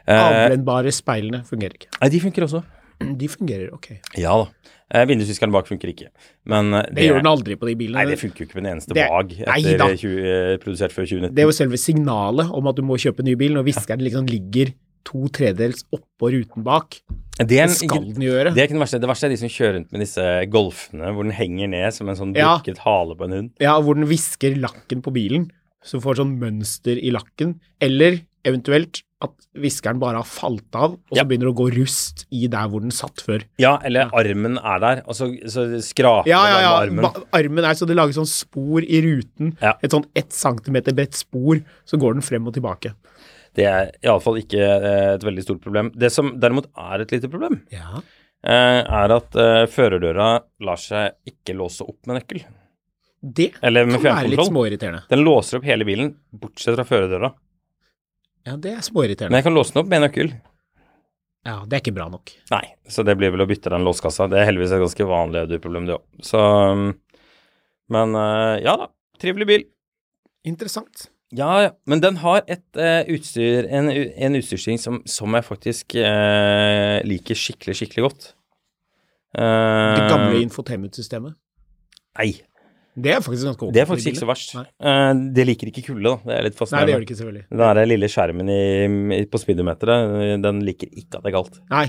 [SPEAKER 1] Eh,
[SPEAKER 2] Avbrennbare speilene fungerer ikke.
[SPEAKER 1] nei, de funker også.
[SPEAKER 2] De fungerer, ok.
[SPEAKER 1] Ja da. Eh, Vindusviskeren bak funker ikke. Men eh,
[SPEAKER 2] Det, gjør den aldri på de bilene.
[SPEAKER 1] Nei, det funker jo ikke med en eneste
[SPEAKER 2] Det-
[SPEAKER 1] vag
[SPEAKER 2] Nei da.
[SPEAKER 1] etter 20, eh, produsert før 2019.
[SPEAKER 2] Det er jo selve signalet om at du må kjøpe ny bil, når viskeren liksom ligger to tredels oppå ruten bak.
[SPEAKER 1] Det er
[SPEAKER 2] Det
[SPEAKER 1] en-
[SPEAKER 2] skal den gjøre.
[SPEAKER 1] Det er ikke det verste. Det verste er de som kjører rundt med disse golfene hvor den henger ned som en sånn
[SPEAKER 2] Ja.
[SPEAKER 1] brukket hale på en hund.
[SPEAKER 2] Ja, hvor den visker lakken på bilen, så du får sånn mønster i lakken. Eller eventuelt at viskeren bare har falt av, og så
[SPEAKER 1] Ja.
[SPEAKER 2] begynner det å gå rust i der hvor den satt før.
[SPEAKER 1] Ja, eller armen er der, og så, så skraper
[SPEAKER 2] Ja, ja, ja.
[SPEAKER 1] den med armen.
[SPEAKER 2] Ba- Armen er så det lager sånn spor i ruten.
[SPEAKER 1] Ja.
[SPEAKER 2] Et sånn ett centimeter bredt spor, så går den frem og tilbake.
[SPEAKER 1] Det er iallfall ikke eh, et veldig stort problem. Det som derimot er et lite problem,
[SPEAKER 2] Ja.
[SPEAKER 1] eh, er at eh, førerdøra lar seg ikke låse opp med nøkkel.
[SPEAKER 2] Det
[SPEAKER 1] Eller med
[SPEAKER 2] kan være litt
[SPEAKER 1] fjernkontroll.
[SPEAKER 2] småirriterende.
[SPEAKER 1] Den låser opp hele bilen, bortsett fra førerdøra.
[SPEAKER 2] Ja, det er
[SPEAKER 1] Men
[SPEAKER 2] småirriterende.
[SPEAKER 1] jeg kan låse den opp med nøkkel.
[SPEAKER 2] Ja, det er ikke bra nok.
[SPEAKER 1] Nei, så det blir vel å bytte den låskassa. Det er heldigvis et ganske vanlig Audi-problem, det òg. Så um, Men eh, ja da. Trivelig bil.
[SPEAKER 2] Interessant.
[SPEAKER 1] Ja, ja. Men den har et eh, utstyr, en, u- en utstyrsting som, som jeg faktisk eh, liker skikkelig, skikkelig godt. Eh,
[SPEAKER 2] Det gamle infotainment-systemet.
[SPEAKER 1] Nei.
[SPEAKER 2] Det er faktisk ganske ok.
[SPEAKER 1] Det er
[SPEAKER 2] for
[SPEAKER 1] faktisk
[SPEAKER 2] biler.
[SPEAKER 1] ikke så verst.
[SPEAKER 2] Nei,
[SPEAKER 1] Eh, det liker ikke kulde, da. Det er litt
[SPEAKER 2] Nei det gjør
[SPEAKER 1] fascinerende.
[SPEAKER 2] det ikke, selvfølgelig.
[SPEAKER 1] Den derre lille skjermen i, i, på speedometeret, den liker ikke at det er kaldt.
[SPEAKER 2] Nei,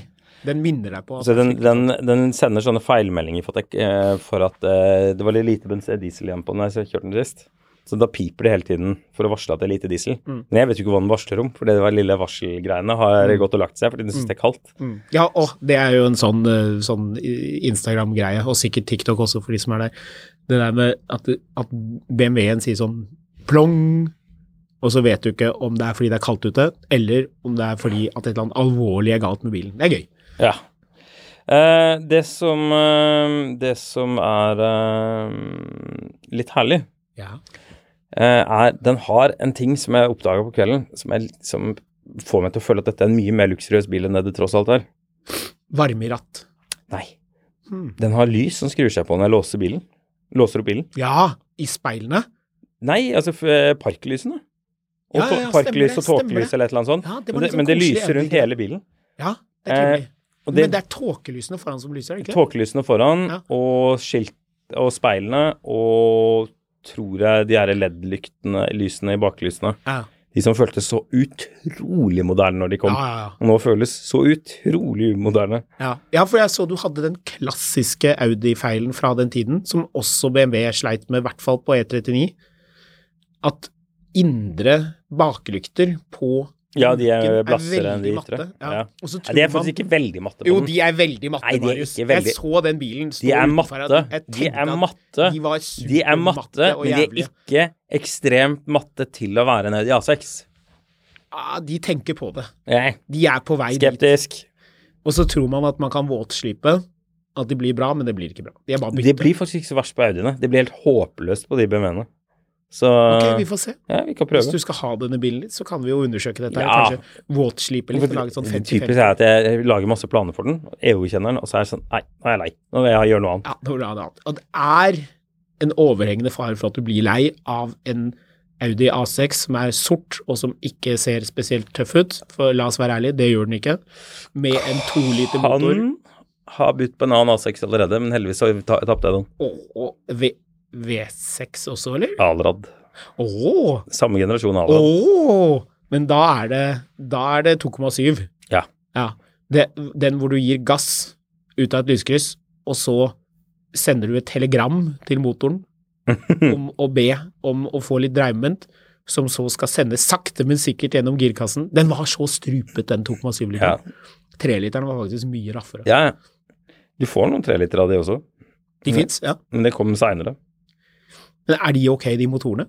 [SPEAKER 2] den minner deg på at
[SPEAKER 1] Så Altså, den, den, den sender eh, sånne feilmeldinger for at, jeg, eh, for at eh, det var litt lite bens- diesel igjen på den jeg kjørte den sist. Så da piper det hele tiden for å varsle at det er lite diesel. Men jeg vet jo ikke hva den varsler om, for det var lille varselgreiene har gått og lagt seg fordi den syns det er kaldt.
[SPEAKER 2] Ja, og det er jo en sånn, eh, sånn Instagram-greie, og sikkert TikTok også for de som er der. Det der med at, at BMW-en sier sånn plong, og så vet du ikke om det er fordi det er kaldt ute, eller om det er fordi at et eller annet alvorlig er galt med bilen. Det er gøy.
[SPEAKER 1] Ja. Eh, det som eh, Det som er eh, litt herlig,
[SPEAKER 2] Ja.
[SPEAKER 1] eh, er Den har en ting som jeg oppdaga på kvelden, som, er, litt- som får meg til å føle at dette er en mye mer luksuriøs bil enn det det tross alt er.
[SPEAKER 2] Varme i ratt.
[SPEAKER 1] Nei. Den har lys som skrur seg på når jeg låser bilen. Låser opp bilen.
[SPEAKER 2] Ja, i speilene.
[SPEAKER 1] Nei, altså f- eh, parklysene. Og
[SPEAKER 2] Ja, ja, ja,
[SPEAKER 1] to- parklys og
[SPEAKER 2] stemmer det, stemmer
[SPEAKER 1] tåkelys
[SPEAKER 2] det.
[SPEAKER 1] eller et eller annet sånt.
[SPEAKER 2] Ja,
[SPEAKER 1] men,
[SPEAKER 2] det var
[SPEAKER 1] det,
[SPEAKER 2] litt sånn
[SPEAKER 1] men det
[SPEAKER 2] koselig
[SPEAKER 1] lyser rundt
[SPEAKER 2] øyeblikk,
[SPEAKER 1] hele bilen.
[SPEAKER 2] Ja, det er trivelig.
[SPEAKER 1] Eh, og det-
[SPEAKER 2] Men det er tåkelysene foran som lyser, er det ikke? det?
[SPEAKER 1] Tåkelysene foran
[SPEAKER 2] Ja.
[SPEAKER 1] og skilt og speilene og tror jeg de her LED-lyktene, lysene i baklysene.
[SPEAKER 2] Ja,
[SPEAKER 1] De som føltes så utrolig moderne når de kom.
[SPEAKER 2] ja, ja. ja.
[SPEAKER 1] Og nå føles så utrolig umoderne.
[SPEAKER 2] Ja. ja, for jeg så du hadde den klassiske Audi-feilen fra den tiden, som også BMW sleit med, i hvert fall på E39, at indre baklykter på
[SPEAKER 1] Ja, de er
[SPEAKER 2] Lykken
[SPEAKER 1] blassere enn de
[SPEAKER 2] veldig
[SPEAKER 1] ytre.
[SPEAKER 2] matte, Ja. Og så
[SPEAKER 1] Nei, de er
[SPEAKER 2] tror man-
[SPEAKER 1] faktisk ikke veldig matte. på
[SPEAKER 2] Jo,
[SPEAKER 1] den.
[SPEAKER 2] de er veldig matte,
[SPEAKER 1] Nei, de er
[SPEAKER 2] Marius.
[SPEAKER 1] ikke veldig-
[SPEAKER 2] Jeg så den bilen stå
[SPEAKER 1] De er
[SPEAKER 2] utenfor her, og
[SPEAKER 1] matte.
[SPEAKER 2] jeg
[SPEAKER 1] De
[SPEAKER 2] tenkte
[SPEAKER 1] er
[SPEAKER 2] at
[SPEAKER 1] matte.
[SPEAKER 2] De var
[SPEAKER 1] De er matte,
[SPEAKER 2] supermatte og
[SPEAKER 1] men de er
[SPEAKER 2] jævlige.
[SPEAKER 1] ikke ekstremt matte til å være en Audi A6.
[SPEAKER 2] Ja, de tenker på det.
[SPEAKER 1] Jeg
[SPEAKER 2] De er på vei
[SPEAKER 1] er
[SPEAKER 2] dit.
[SPEAKER 1] skeptisk.
[SPEAKER 2] Og så tror man at man kan våtslipe, at de blir bra, men det blir ikke bra. De er bare
[SPEAKER 1] Det
[SPEAKER 2] bytte.
[SPEAKER 1] blir faktisk ikke så verst på Audiene. Det blir helt håpløst på de BMW-ene. Så
[SPEAKER 2] Ok, vi får se.
[SPEAKER 1] ja, vi kan
[SPEAKER 2] Hvis
[SPEAKER 1] prøve.
[SPEAKER 2] du skal ha denne bilen litt, så kan vi jo undersøke dette. her.
[SPEAKER 1] Ja.
[SPEAKER 2] Kanskje våtslipe litt og lage sånn
[SPEAKER 1] Det
[SPEAKER 2] 50-50.
[SPEAKER 1] Typisk er at jeg jeg lager masse planer for den, EU-kjenneren, og så er jeg sånn Nei, nå er jeg lei. Nå vil jeg gjøre noe annet.
[SPEAKER 2] Ja, det var noe annet. Og det er en overhengende fare for at du blir lei av en Audi A6 som er sort, og som ikke ser spesielt tøff ut. For la oss være ærlige, det gjør den ikke. Med en to liter motor
[SPEAKER 1] Han har budt på en annen A6 allerede, men heldigvis så ta- tapte jeg den.
[SPEAKER 2] og, og v, V6 også, eller?
[SPEAKER 1] Alrad.
[SPEAKER 2] Åh!
[SPEAKER 1] Samme generasjon Alrad.
[SPEAKER 2] Åh! Men da er det, da er det 2,7.
[SPEAKER 1] Ja.
[SPEAKER 2] Ja. Det, den hvor du gir gass ut av et lyskryss, og så sender du et telegram til motoren om å be om å få litt dreiemoment, som så skal sendes sakte, men sikkert gjennom girkassen. Den var så strupet, den 2,7-literen.
[SPEAKER 1] Ja.
[SPEAKER 2] Treliteren var faktisk mye raffere.
[SPEAKER 1] ja. Du får noen treliter av de også,
[SPEAKER 2] De fins, ja.
[SPEAKER 1] men det kom seinere.
[SPEAKER 2] Men er de ok, de motorene?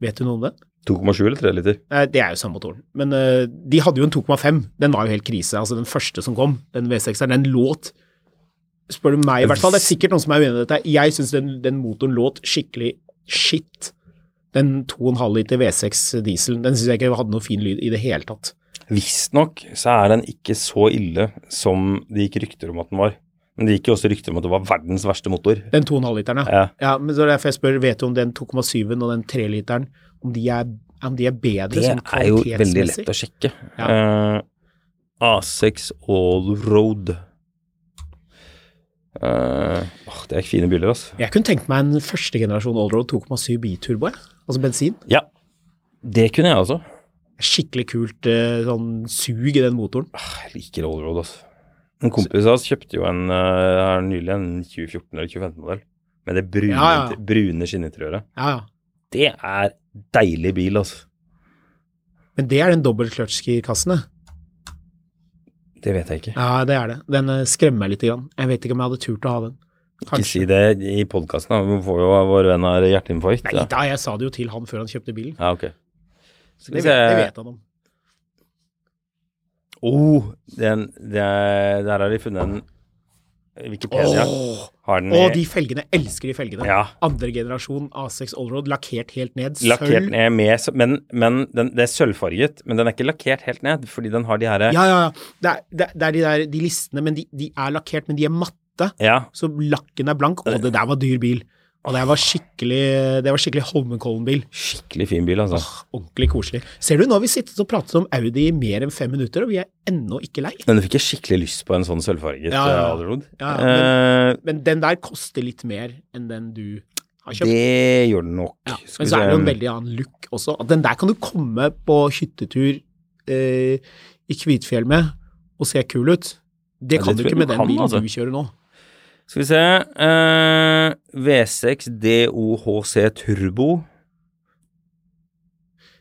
[SPEAKER 2] Vet du noe om det?
[SPEAKER 1] 2,7 eller 3 liter?
[SPEAKER 2] Nei, Eh, det er jo samme motoren. Men eh, de hadde jo en 2,5. Den var jo helt krise. Altså, den første som kom, den V6-eren, den låt Spør du meg, i hvert fall. Det er sikkert noen som er uenig i dette. Jeg syns den, den motoren låt skikkelig shit. Den 2,5 liter V6 dieselen, den syns jeg ikke hadde noe fin lyd i det hele tatt.
[SPEAKER 1] Visstnok så er den ikke så ille som det gikk rykter om at den var. Men det gikk jo også rykter om at det var verdens verste motor.
[SPEAKER 2] Den 2,5-literen, ja.
[SPEAKER 1] Ja.
[SPEAKER 2] ja. Men så er det derfor jeg spør, vet du om den 2,7-en og den 3-literen, om, de er- om de er bedre
[SPEAKER 1] Det
[SPEAKER 2] sånn
[SPEAKER 1] er jo veldig
[SPEAKER 2] kvalitetsmessig?
[SPEAKER 1] lett å sjekke.
[SPEAKER 2] Ja.
[SPEAKER 1] Eh, A6 Allroad. Eh, åh, det er fine biler, altså.
[SPEAKER 2] Jeg kunne tenkt meg en førstegenerasjon Allroad 2,7 biturbo, jeg. altså bensin.
[SPEAKER 1] Ja, det kunne jeg også.
[SPEAKER 2] skikkelig kult eh, sånn sug i den motoren.
[SPEAKER 1] Jeg liker Allroad, altså. En kompis av oss kjøpte jo en, eh, her nylig en 2014 eller 2015-modell med det brune,
[SPEAKER 2] Ja, ja.
[SPEAKER 1] brune skinninteriøret.
[SPEAKER 2] Ja, ja.
[SPEAKER 1] Det er deilig bil, altså.
[SPEAKER 2] Men det er den dobbeltkløtsjgirkassen, det.
[SPEAKER 1] Det vet jeg ikke.
[SPEAKER 2] Ja, det er det. Den eh, skremmer meg lite grann. Jeg vet ikke om jeg hadde turt å ha den.
[SPEAKER 1] Ikke si det i podkasten, da. Vi får jo av vår venn her hjerteinfarkt.
[SPEAKER 2] Nei
[SPEAKER 1] ja.
[SPEAKER 2] da, jeg sa det jo til han før han kjøpte bilen.
[SPEAKER 1] ja, ok. Skal vi
[SPEAKER 2] Det
[SPEAKER 1] se
[SPEAKER 2] vet, det vet han om.
[SPEAKER 1] Oh, den, det er, Der har de funnet en Wikipedia.
[SPEAKER 2] Åh!
[SPEAKER 1] har den i,
[SPEAKER 2] Og de felgene. Elsker de felgene.
[SPEAKER 1] Ja.
[SPEAKER 2] Andre generasjon A6 Allroad, lakkert helt ned.
[SPEAKER 1] Lakkert
[SPEAKER 2] Sølv.
[SPEAKER 1] ned med sø- Men, men den, det er sølvfarget, men den er ikke lakkert helt ned, fordi den har de her
[SPEAKER 2] Ja, ja, ja. Det er, det er- det er de der de listene, men de, de er lakkert, men de er matte.
[SPEAKER 1] ja,
[SPEAKER 2] Så lakken er blank. Og det der var dyr bil. Og det var skikkelig, det var skikkelig Holmenkollen-bil.
[SPEAKER 1] Skikkelig fin bil, altså.
[SPEAKER 2] Ordentlig koselig. Ser du, nå har vi sittet og pratet om Audi i mer enn fem minutter, og vi er ennå ikke lei.
[SPEAKER 1] Men du fikk jeg skikkelig lyst på en sånn sølvfarget
[SPEAKER 2] Ja, ja, ja.
[SPEAKER 1] eh, Allroad.
[SPEAKER 2] Ja,
[SPEAKER 1] Eh,
[SPEAKER 2] Men den der koster litt mer enn den du har kjøpt.
[SPEAKER 1] det gjør den nok.
[SPEAKER 2] ja.
[SPEAKER 1] Skal
[SPEAKER 2] Men
[SPEAKER 1] vi
[SPEAKER 2] så er det jo en
[SPEAKER 1] se.
[SPEAKER 2] veldig annen look også. At den der kan du komme på hyttetur eh, i Kvitfjell med og se kul ut. Det
[SPEAKER 1] Ja, det
[SPEAKER 2] kan
[SPEAKER 1] tror
[SPEAKER 2] du
[SPEAKER 1] jeg
[SPEAKER 2] ikke
[SPEAKER 1] du
[SPEAKER 2] med den
[SPEAKER 1] kan,
[SPEAKER 2] bilen
[SPEAKER 1] altså.
[SPEAKER 2] du kjører nå.
[SPEAKER 1] Skal vi se eh, V6 DOHC Turbo.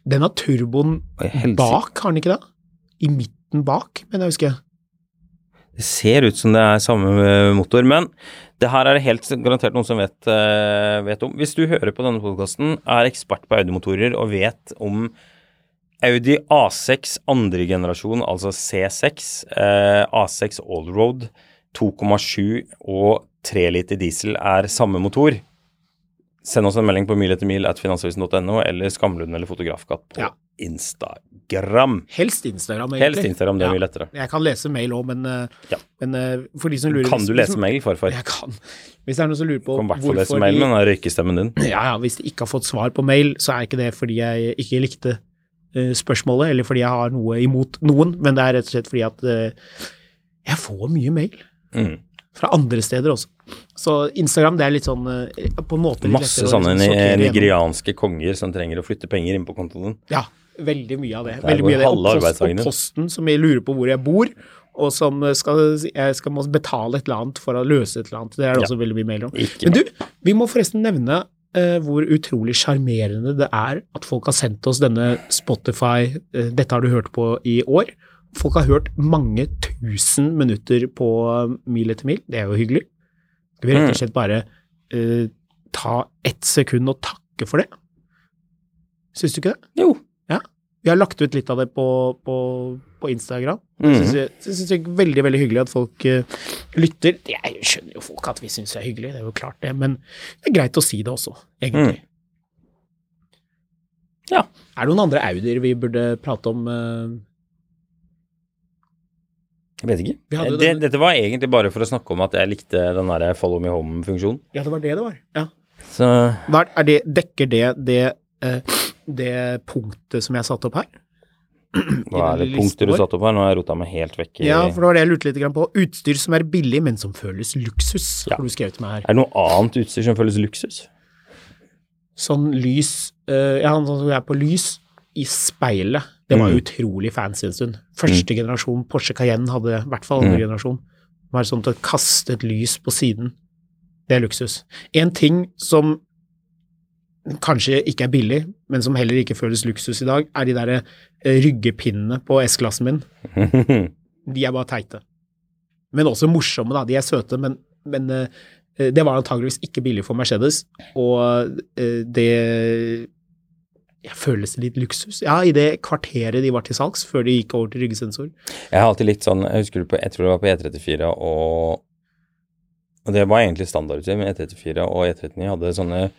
[SPEAKER 2] Den har turboen
[SPEAKER 1] Oi, helsike.
[SPEAKER 2] bak, har den ikke det? I midten bak, men jeg husker jeg.
[SPEAKER 1] Det ser ut som det er samme eh, motor, men det her er det helt garantert noen som vet, eh, vet om. Hvis du hører på denne podkasten, er ekspert på Audi-motorer og vet om Audi A6 andre generasjon, altså C6, eh, A6 allroad, 2,7 og 3 liter diesel er samme motor. Send oss en melding på mil etter mil at finansavisen.no eller Skamlund eller Fotografkatt på
[SPEAKER 2] Ja.
[SPEAKER 1] Instagram.
[SPEAKER 2] Helst Instagram, egentlig.
[SPEAKER 1] Helst Instagram, det er mye
[SPEAKER 2] Ja.
[SPEAKER 1] lettere.
[SPEAKER 2] Jeg kan lese mail òg, men, eh,
[SPEAKER 1] Ja.
[SPEAKER 2] men eh, for de som lurer
[SPEAKER 1] Kan
[SPEAKER 2] hvis-
[SPEAKER 1] du
[SPEAKER 2] hvis-
[SPEAKER 1] lese mail, farfar?
[SPEAKER 2] Jeg kan. Hvis det er noen som lurer på
[SPEAKER 1] Kan i hvert fall lese
[SPEAKER 2] hvorfor
[SPEAKER 1] mailen
[SPEAKER 2] de
[SPEAKER 1] med den røykestemmen din.
[SPEAKER 2] ja, ja, Hvis de ikke har fått svar på mail, så er ikke det fordi jeg ikke likte eh, spørsmålet, eller fordi jeg har noe imot noen, men det er rett og slett fordi at eh, jeg får mye mail.
[SPEAKER 1] Mm.
[SPEAKER 2] Fra andre steder også. Så Instagram det er litt sånn eh, på en måte litt
[SPEAKER 1] Masse
[SPEAKER 2] lettere å
[SPEAKER 1] sånne
[SPEAKER 2] liksom
[SPEAKER 1] ni-
[SPEAKER 2] sortere gjennom.
[SPEAKER 1] nigerianske konger som trenger å flytte penger inn på kontoen din.
[SPEAKER 2] Ja, veldig mye av det.
[SPEAKER 1] Der
[SPEAKER 2] Veldig
[SPEAKER 1] går
[SPEAKER 2] mye av det. Og,
[SPEAKER 1] halve
[SPEAKER 2] post,
[SPEAKER 1] arbeidsdagen
[SPEAKER 2] og
[SPEAKER 1] din.
[SPEAKER 2] posten som jeg lurer på hvor jeg bor, og som eh, skal, jeg skal må betale et eller annet for å løse et eller annet. Det er det
[SPEAKER 1] Ja.
[SPEAKER 2] også veldig mye mail om.
[SPEAKER 1] Ikke
[SPEAKER 2] Men du, vi må forresten nevne eh, hvor utrolig sjarmerende det er at folk har sendt oss denne Spotify eh, 'Dette har du hørt på' i år. Folk har hørt mange tusen minutter på eh, mil etter mil. Det er jo hyggelig. Skal vi rett og
[SPEAKER 1] Mm.
[SPEAKER 2] slett bare eh, ta ett sekund og takke for det? Syns du ikke det?
[SPEAKER 1] Jo.
[SPEAKER 2] Ja. Vi har lagt ut litt av det på, på, på Instagram. Det
[SPEAKER 1] Mm.
[SPEAKER 2] syns jeg, det synes jeg er veldig veldig hyggelig at folk eh, lytter. Det er, jo- skjønner jo folk at vi syns det er hyggelig, det er jo klart det. Men det er greit å si det også, egentlig.
[SPEAKER 1] Mm. Ja.
[SPEAKER 2] Er det noen andre Audier vi burde prate om? eh?
[SPEAKER 1] Jeg vet ikke.
[SPEAKER 2] Vi hadde jo
[SPEAKER 1] Det,
[SPEAKER 2] denne-
[SPEAKER 1] dette var egentlig bare for å snakke om at jeg likte den der follow me home-funksjonen.
[SPEAKER 2] Ja, det var det det var. Ja.
[SPEAKER 1] Så
[SPEAKER 2] Hva er- er det, dekker det det, eh, det punktet som jeg satte opp her?
[SPEAKER 1] hva er det punkter
[SPEAKER 2] listen
[SPEAKER 1] du
[SPEAKER 2] vår?
[SPEAKER 1] satte opp her? Nå har jeg rota meg helt vekk i
[SPEAKER 2] Ja, for det var det jeg lurte litt grann på. Utstyr som er billig, men som føles luksus,
[SPEAKER 1] Ja.
[SPEAKER 2] har du skrevet meg her.
[SPEAKER 1] Er det noe annet utstyr som føles luksus?
[SPEAKER 2] sånn lys eh, Ja, han sånn som jeg er på lys i speilet. Det var
[SPEAKER 1] Mm.
[SPEAKER 2] utrolig fancy en stund. Første generasjon Porsche Cayenne hadde det, i hvert fall andre generasjon. Det var sånn til å kaste et lys på siden. Det er luksus. En ting som kanskje ikke er billig, men som heller ikke føles luksus i dag, er de derre eh, ryggepinnene på S-klassen min. De er bare teite. Men også morsomme, da. De er søte, men, men eh, det var antageligvis ikke billig for Mercedes. Og eh, det jeg føles litt luksus. Ja, i det kvarteret de var til salgs, før de gikk over til ryggesensor.
[SPEAKER 1] Jeg har alltid likt sånn Jeg husker du på, jeg tror det var på E34 og Og det var egentlig standardutstyr, men E34 og E39 hadde sånne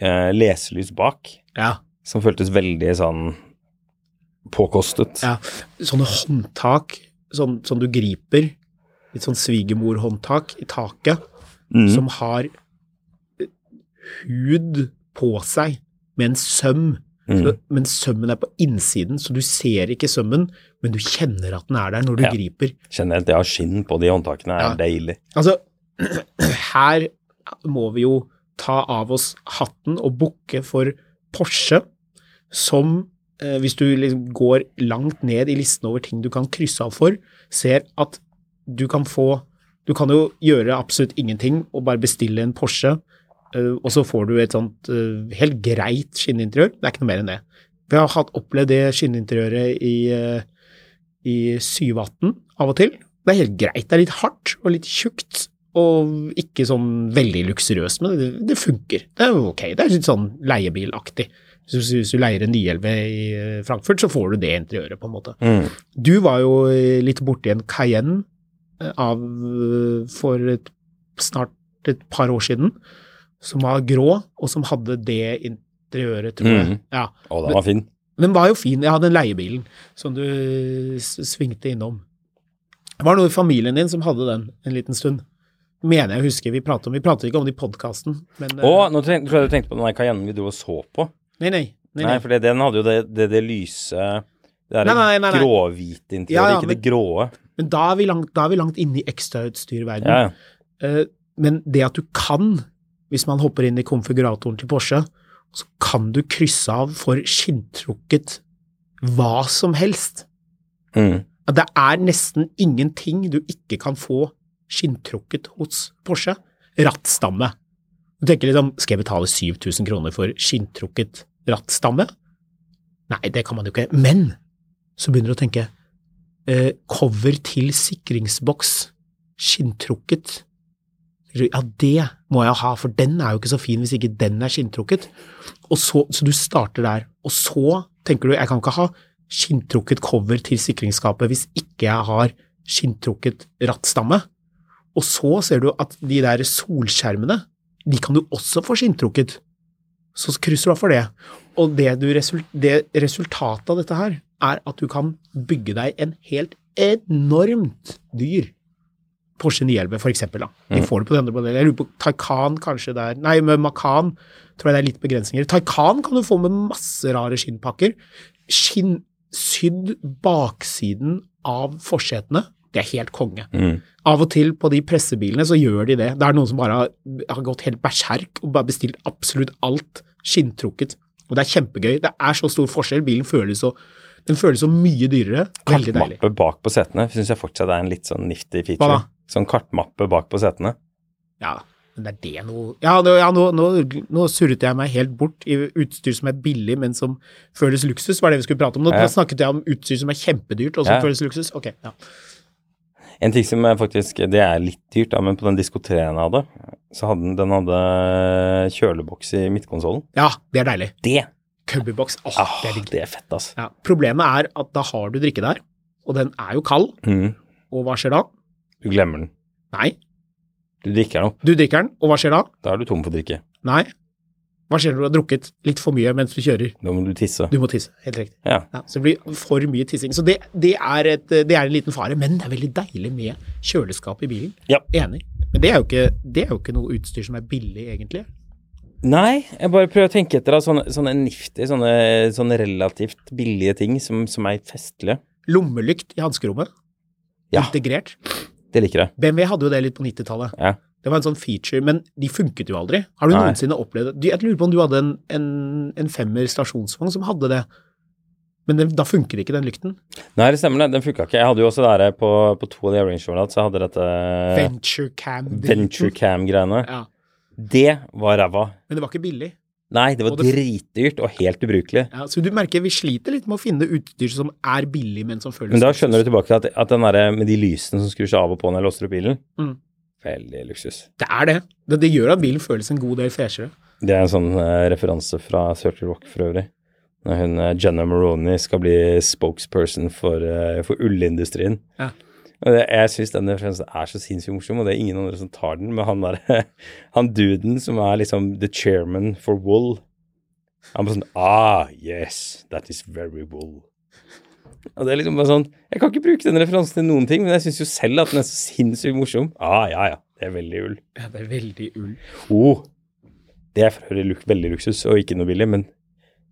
[SPEAKER 1] eh, leselys bak
[SPEAKER 2] Ja.
[SPEAKER 1] som føltes veldig sånn påkostet.
[SPEAKER 2] ja. Sånne håndtak som, som du griper, litt sånn svigermorhåndtak i taket,
[SPEAKER 1] Mm. Mhm.
[SPEAKER 2] som har eh, hud på seg med en søm. Så, men sømmen er på innsiden, så du ser ikke sømmen, men du kjenner at den er der når du
[SPEAKER 1] Ja.
[SPEAKER 2] griper.
[SPEAKER 1] Kjenner jeg at jeg har skinn på de håndtakene, er
[SPEAKER 2] Ja.
[SPEAKER 1] deilig.
[SPEAKER 2] Altså, her må vi jo ta av oss hatten og bukke for Porsche, som eh, hvis du liksom går langt ned i listen over ting du kan krysse av for, ser at du kan få Du kan jo gjøre absolutt ingenting og bare bestille en Porsche, eh, og så får du et sånt eh, helt greit skinninteriør. Det er ikke noe mer enn det. Vi har hatt opplevd det skinninteriøret i eh, i 718 av og til. Det er helt greit. Det er litt hardt og litt tjukt, og ikke sånn veldig luksuriøst, men det, det funker. Det er ok. Det er litt sånn leiebilaktig. Så Hvis, hvis du leier en 911 i eh, Frankfurt, så får du det interiøret, på en måte.
[SPEAKER 1] Mm.
[SPEAKER 2] Du var jo eh, litt borti en Cayenne eh, av, eh, for et, snart et par år siden, som var grå, og som hadde det interiøret, tror jeg.
[SPEAKER 1] Mhm.
[SPEAKER 2] Ja.
[SPEAKER 1] Å, den var fin.
[SPEAKER 2] Den var jo fin. Jeg hadde den leiebilen som du s- svingte innom. Det var noe i familien din som hadde den en liten stund. Mener jeg husker vi pratet om. Vi pratet ikke om det i podkasten, men eh,
[SPEAKER 1] Å, nå tenk- tror jeg du tenkte på den der Cayennen vi dro og så på.
[SPEAKER 2] Nei, nei. nei,
[SPEAKER 1] Nei,
[SPEAKER 2] nei.
[SPEAKER 1] for det, den hadde jo det, det, det lyse Det
[SPEAKER 2] Nei, nei, nei,
[SPEAKER 1] derre
[SPEAKER 2] nei.
[SPEAKER 1] gråhvite interiøret,
[SPEAKER 2] Ja, ja,
[SPEAKER 1] ikke
[SPEAKER 2] men-
[SPEAKER 1] det gråe.
[SPEAKER 2] Men da er vi langt, da er vi langt inne i ekstrautstyrverdenen.
[SPEAKER 1] Ja, ja.
[SPEAKER 2] Eh, Men det at du kan, hvis man hopper inn i konfiguratoren til Porsche, så kan du krysse av for skinntrukket hva som helst.
[SPEAKER 1] Mm.
[SPEAKER 2] at det er nesten ingenting du ikke kan få skinntrukket hos Porsche. Rattstamme. Du tenker liksom, skal jeg betale 7000 kroner for skinntrukket rattstamme? Nei, det kan man jo ikke. Men så begynner du å tenke eh, cover til sikringsboks, skinntrukket. Ja, det må jeg ha, for den er jo ikke så fin hvis ikke den er skinntrukket. Og så, så du starter der, og så tenker du jeg kan ikke ha skinntrukket cover til sikringsskapet hvis ikke jeg har skinntrukket rattstamme. Og så ser du at de der solskjermene, de kan du også få skinntrukket. Så krysser du av for det. Og det, du resul- det resultatet av dette her er at du kan bygge deg en helt enormt dyr Porsche 911 for eksempel. Da. De får det på den andre modellen. Jeg lurer på Taycan kanskje der Nei, med Macan tror jeg det er litt begrensninger. Taycan kan du få med masse rare skinnpakker. Skinn sydd baksiden av forsetene. Det er helt konge. Av og til på de pressebilene så gjør de det. Det er noen som bare har, har gått helt berserk og bare bestilt absolutt alt skinntrukket. Og det er kjempegøy. Det er så stor forskjell. Bilen føles så, den føles så mye dyrere. Veldig deilig.
[SPEAKER 1] Kartmappe bak på setene syns jeg fortsatt er en litt sånn nifty
[SPEAKER 2] Hva
[SPEAKER 1] feature.
[SPEAKER 2] da?
[SPEAKER 1] Sånn kartmappe bak på setene.
[SPEAKER 2] Ja, men er det noe Ja, nå, ja, nå, nå, nå surret jeg meg helt bort i utstyr som er billig, men som føles luksus, var det vi skulle prate om. Nå
[SPEAKER 1] Ja.
[SPEAKER 2] nå snakket jeg om utstyr som er kjempedyrt, og som
[SPEAKER 1] Ja.
[SPEAKER 2] føles luksus. Ok, ja.
[SPEAKER 1] En ting som er faktisk Det er litt dyrt, da, men på den Disko 3 jeg hadde, så hadde den, den hadde kjøleboks i midtkonsollen.
[SPEAKER 2] ja, det er deilig.
[SPEAKER 1] Det!
[SPEAKER 2] Cubbybox, åh,
[SPEAKER 1] Ah,
[SPEAKER 2] det er digg.
[SPEAKER 1] det er fett, altså.
[SPEAKER 2] Ja. Problemet er at da har du drikke der, og den er jo kald,
[SPEAKER 1] Mm.
[SPEAKER 2] og hva skjer da?
[SPEAKER 1] Du glemmer den.
[SPEAKER 2] Nei.
[SPEAKER 1] Du drikker den opp.
[SPEAKER 2] Du drikker den, og hva skjer da?
[SPEAKER 1] Da er du tom for drikke.
[SPEAKER 2] Nei. Hva skjer når du har drukket litt for mye mens du kjører?
[SPEAKER 1] Da må du tisse.
[SPEAKER 2] Du må tisse, helt riktig.
[SPEAKER 1] Ja.
[SPEAKER 2] Ja, så det blir for mye tissing. Så det, det, er et, det er en liten fare, men det er veldig deilig med kjøleskap i bilen.
[SPEAKER 1] Ja.
[SPEAKER 2] Enig. Men det er, jo ikke, det er jo ikke noe utstyr som er billig, egentlig.
[SPEAKER 1] Nei, jeg bare prøver å tenke etter. Da. Sånne, sånne nifty, sånne, sånne relativt billige ting som, som er festlige.
[SPEAKER 2] Lommelykt i hanskerommet,
[SPEAKER 1] Ja,
[SPEAKER 2] integrert.
[SPEAKER 1] det liker jeg.
[SPEAKER 2] BMW hadde jo det litt på 90-tallet.
[SPEAKER 1] Ja.
[SPEAKER 2] Det var en sånn feature, men de funket jo aldri. Har du
[SPEAKER 1] Nei.
[SPEAKER 2] noensinne opplevd det? Du- Jeg lurer på om du hadde en, en, en femmer stasjonsvogn som hadde det, men den, da funker ikke den lykten.
[SPEAKER 1] Nei, det stemmer, det. Den funka ikke. Jeg hadde jo også det her på, på to av de Range Roverene, så jeg hadde dette
[SPEAKER 2] Venture cam.
[SPEAKER 1] Venture Cam-greiene.
[SPEAKER 2] Ja.
[SPEAKER 1] Det var ræva.
[SPEAKER 2] Men det var ikke billig.
[SPEAKER 1] Nei, det var
[SPEAKER 2] Og det-
[SPEAKER 1] dritdyrt og helt ubrukelig.
[SPEAKER 2] Ja, så du merker vi sliter litt med å finne utstyr som er billig, men som føles
[SPEAKER 1] Men da skjønner du tilbake at, at den derre med de lysene som skrur seg av og på når jeg låser opp bilen,
[SPEAKER 2] Mm.
[SPEAKER 1] veldig luksus.
[SPEAKER 2] Det er det. det. Det gjør at bilen føles en god del freshere.
[SPEAKER 1] Det er en sånn eh, referanse fra 30 Rock for øvrig. Når hun, eh, Jenna Maroney skal bli spokesperson for, eh, for ullindustrien.
[SPEAKER 2] Ja.
[SPEAKER 1] Og det, jeg syns den referansen er så sinnssykt morsom, og det er ingen andre som tar den. Men han der, han duden som er liksom the chairman for wool, han bare sånn Ah, yes, that is very wool. Og det er liksom bare sånn Jeg kan ikke bruke den referansen til noen ting, men jeg syns jo selv at den er så sinnssykt morsom. Ah, ja, ja. Det er veldig ull.
[SPEAKER 2] Ja, det er veldig ull.
[SPEAKER 1] Oh, det er for øvrig luk veldig luksus, og ikke noe billig, men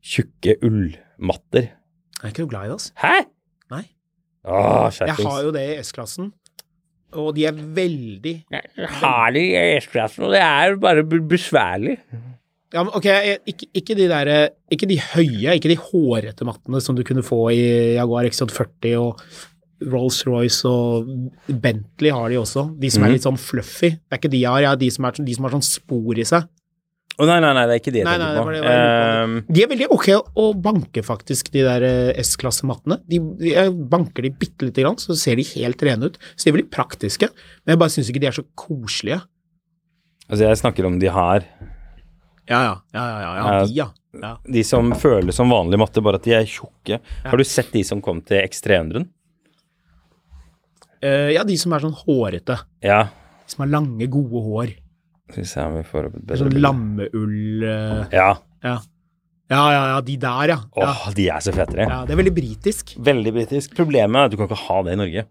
[SPEAKER 1] tjukke ullmatter.
[SPEAKER 2] Jeg er ikke noe glad i det, altså.
[SPEAKER 1] Hæ?
[SPEAKER 2] Nei.
[SPEAKER 1] Åh,
[SPEAKER 2] Jeg har
[SPEAKER 1] skjerpings.
[SPEAKER 2] jo det i S-klassen, og de er veldig
[SPEAKER 1] Jeg har det i S-klassen, og det er jo bare b- besværlig.
[SPEAKER 2] ja, men Ok, jeg- ikke, ikke, de der, eh, ikke de høye, ikke de hårete mattene som du kunne få i Jaguar XJ40 og Rolls-Royce og Bentley har de også. De som er
[SPEAKER 1] Mhm.
[SPEAKER 2] litt sånn fluffy. Det er ikke de jeg har, jeg har de som, er, sånn- de som har sånn spor i seg.
[SPEAKER 1] Å nei, nei, nei, det er ikke det jeg
[SPEAKER 2] Nei, nei,
[SPEAKER 1] tenker
[SPEAKER 2] det
[SPEAKER 1] på. Ehm,
[SPEAKER 2] var det jeg var inne De er veldig ok å banke, faktisk, de der eh, S-klasse-mattene. De, de, jeg banker de bitte lite grann, så ser de helt rene ut. Så de er veldig praktiske, men jeg bare syns ikke de er så koselige.
[SPEAKER 1] Eh, altså, jeg snakker om de her.
[SPEAKER 2] Ja, ja. Ja, ja, ja.
[SPEAKER 1] Ja.
[SPEAKER 2] De, ja. ja.
[SPEAKER 1] De som føles som vanlig matte, bare at de er tjukke. Har du sett de som kom til X300-en?
[SPEAKER 2] Eh, ja, de som er sånn hårete.
[SPEAKER 1] Ja.
[SPEAKER 2] De som har lange, gode hår.
[SPEAKER 1] Skal vi se om vi får opp et bedre
[SPEAKER 2] Sånn
[SPEAKER 1] bilde.
[SPEAKER 2] lammeull eh,
[SPEAKER 1] Ja.
[SPEAKER 2] ja. ja, ja, ja. De der, ja.
[SPEAKER 1] Åh,
[SPEAKER 2] ja.
[SPEAKER 1] de er så fete, de.
[SPEAKER 2] ja det er veldig britisk.
[SPEAKER 1] Veldig britisk. Problemet er at du kan ikke ha det i Norge.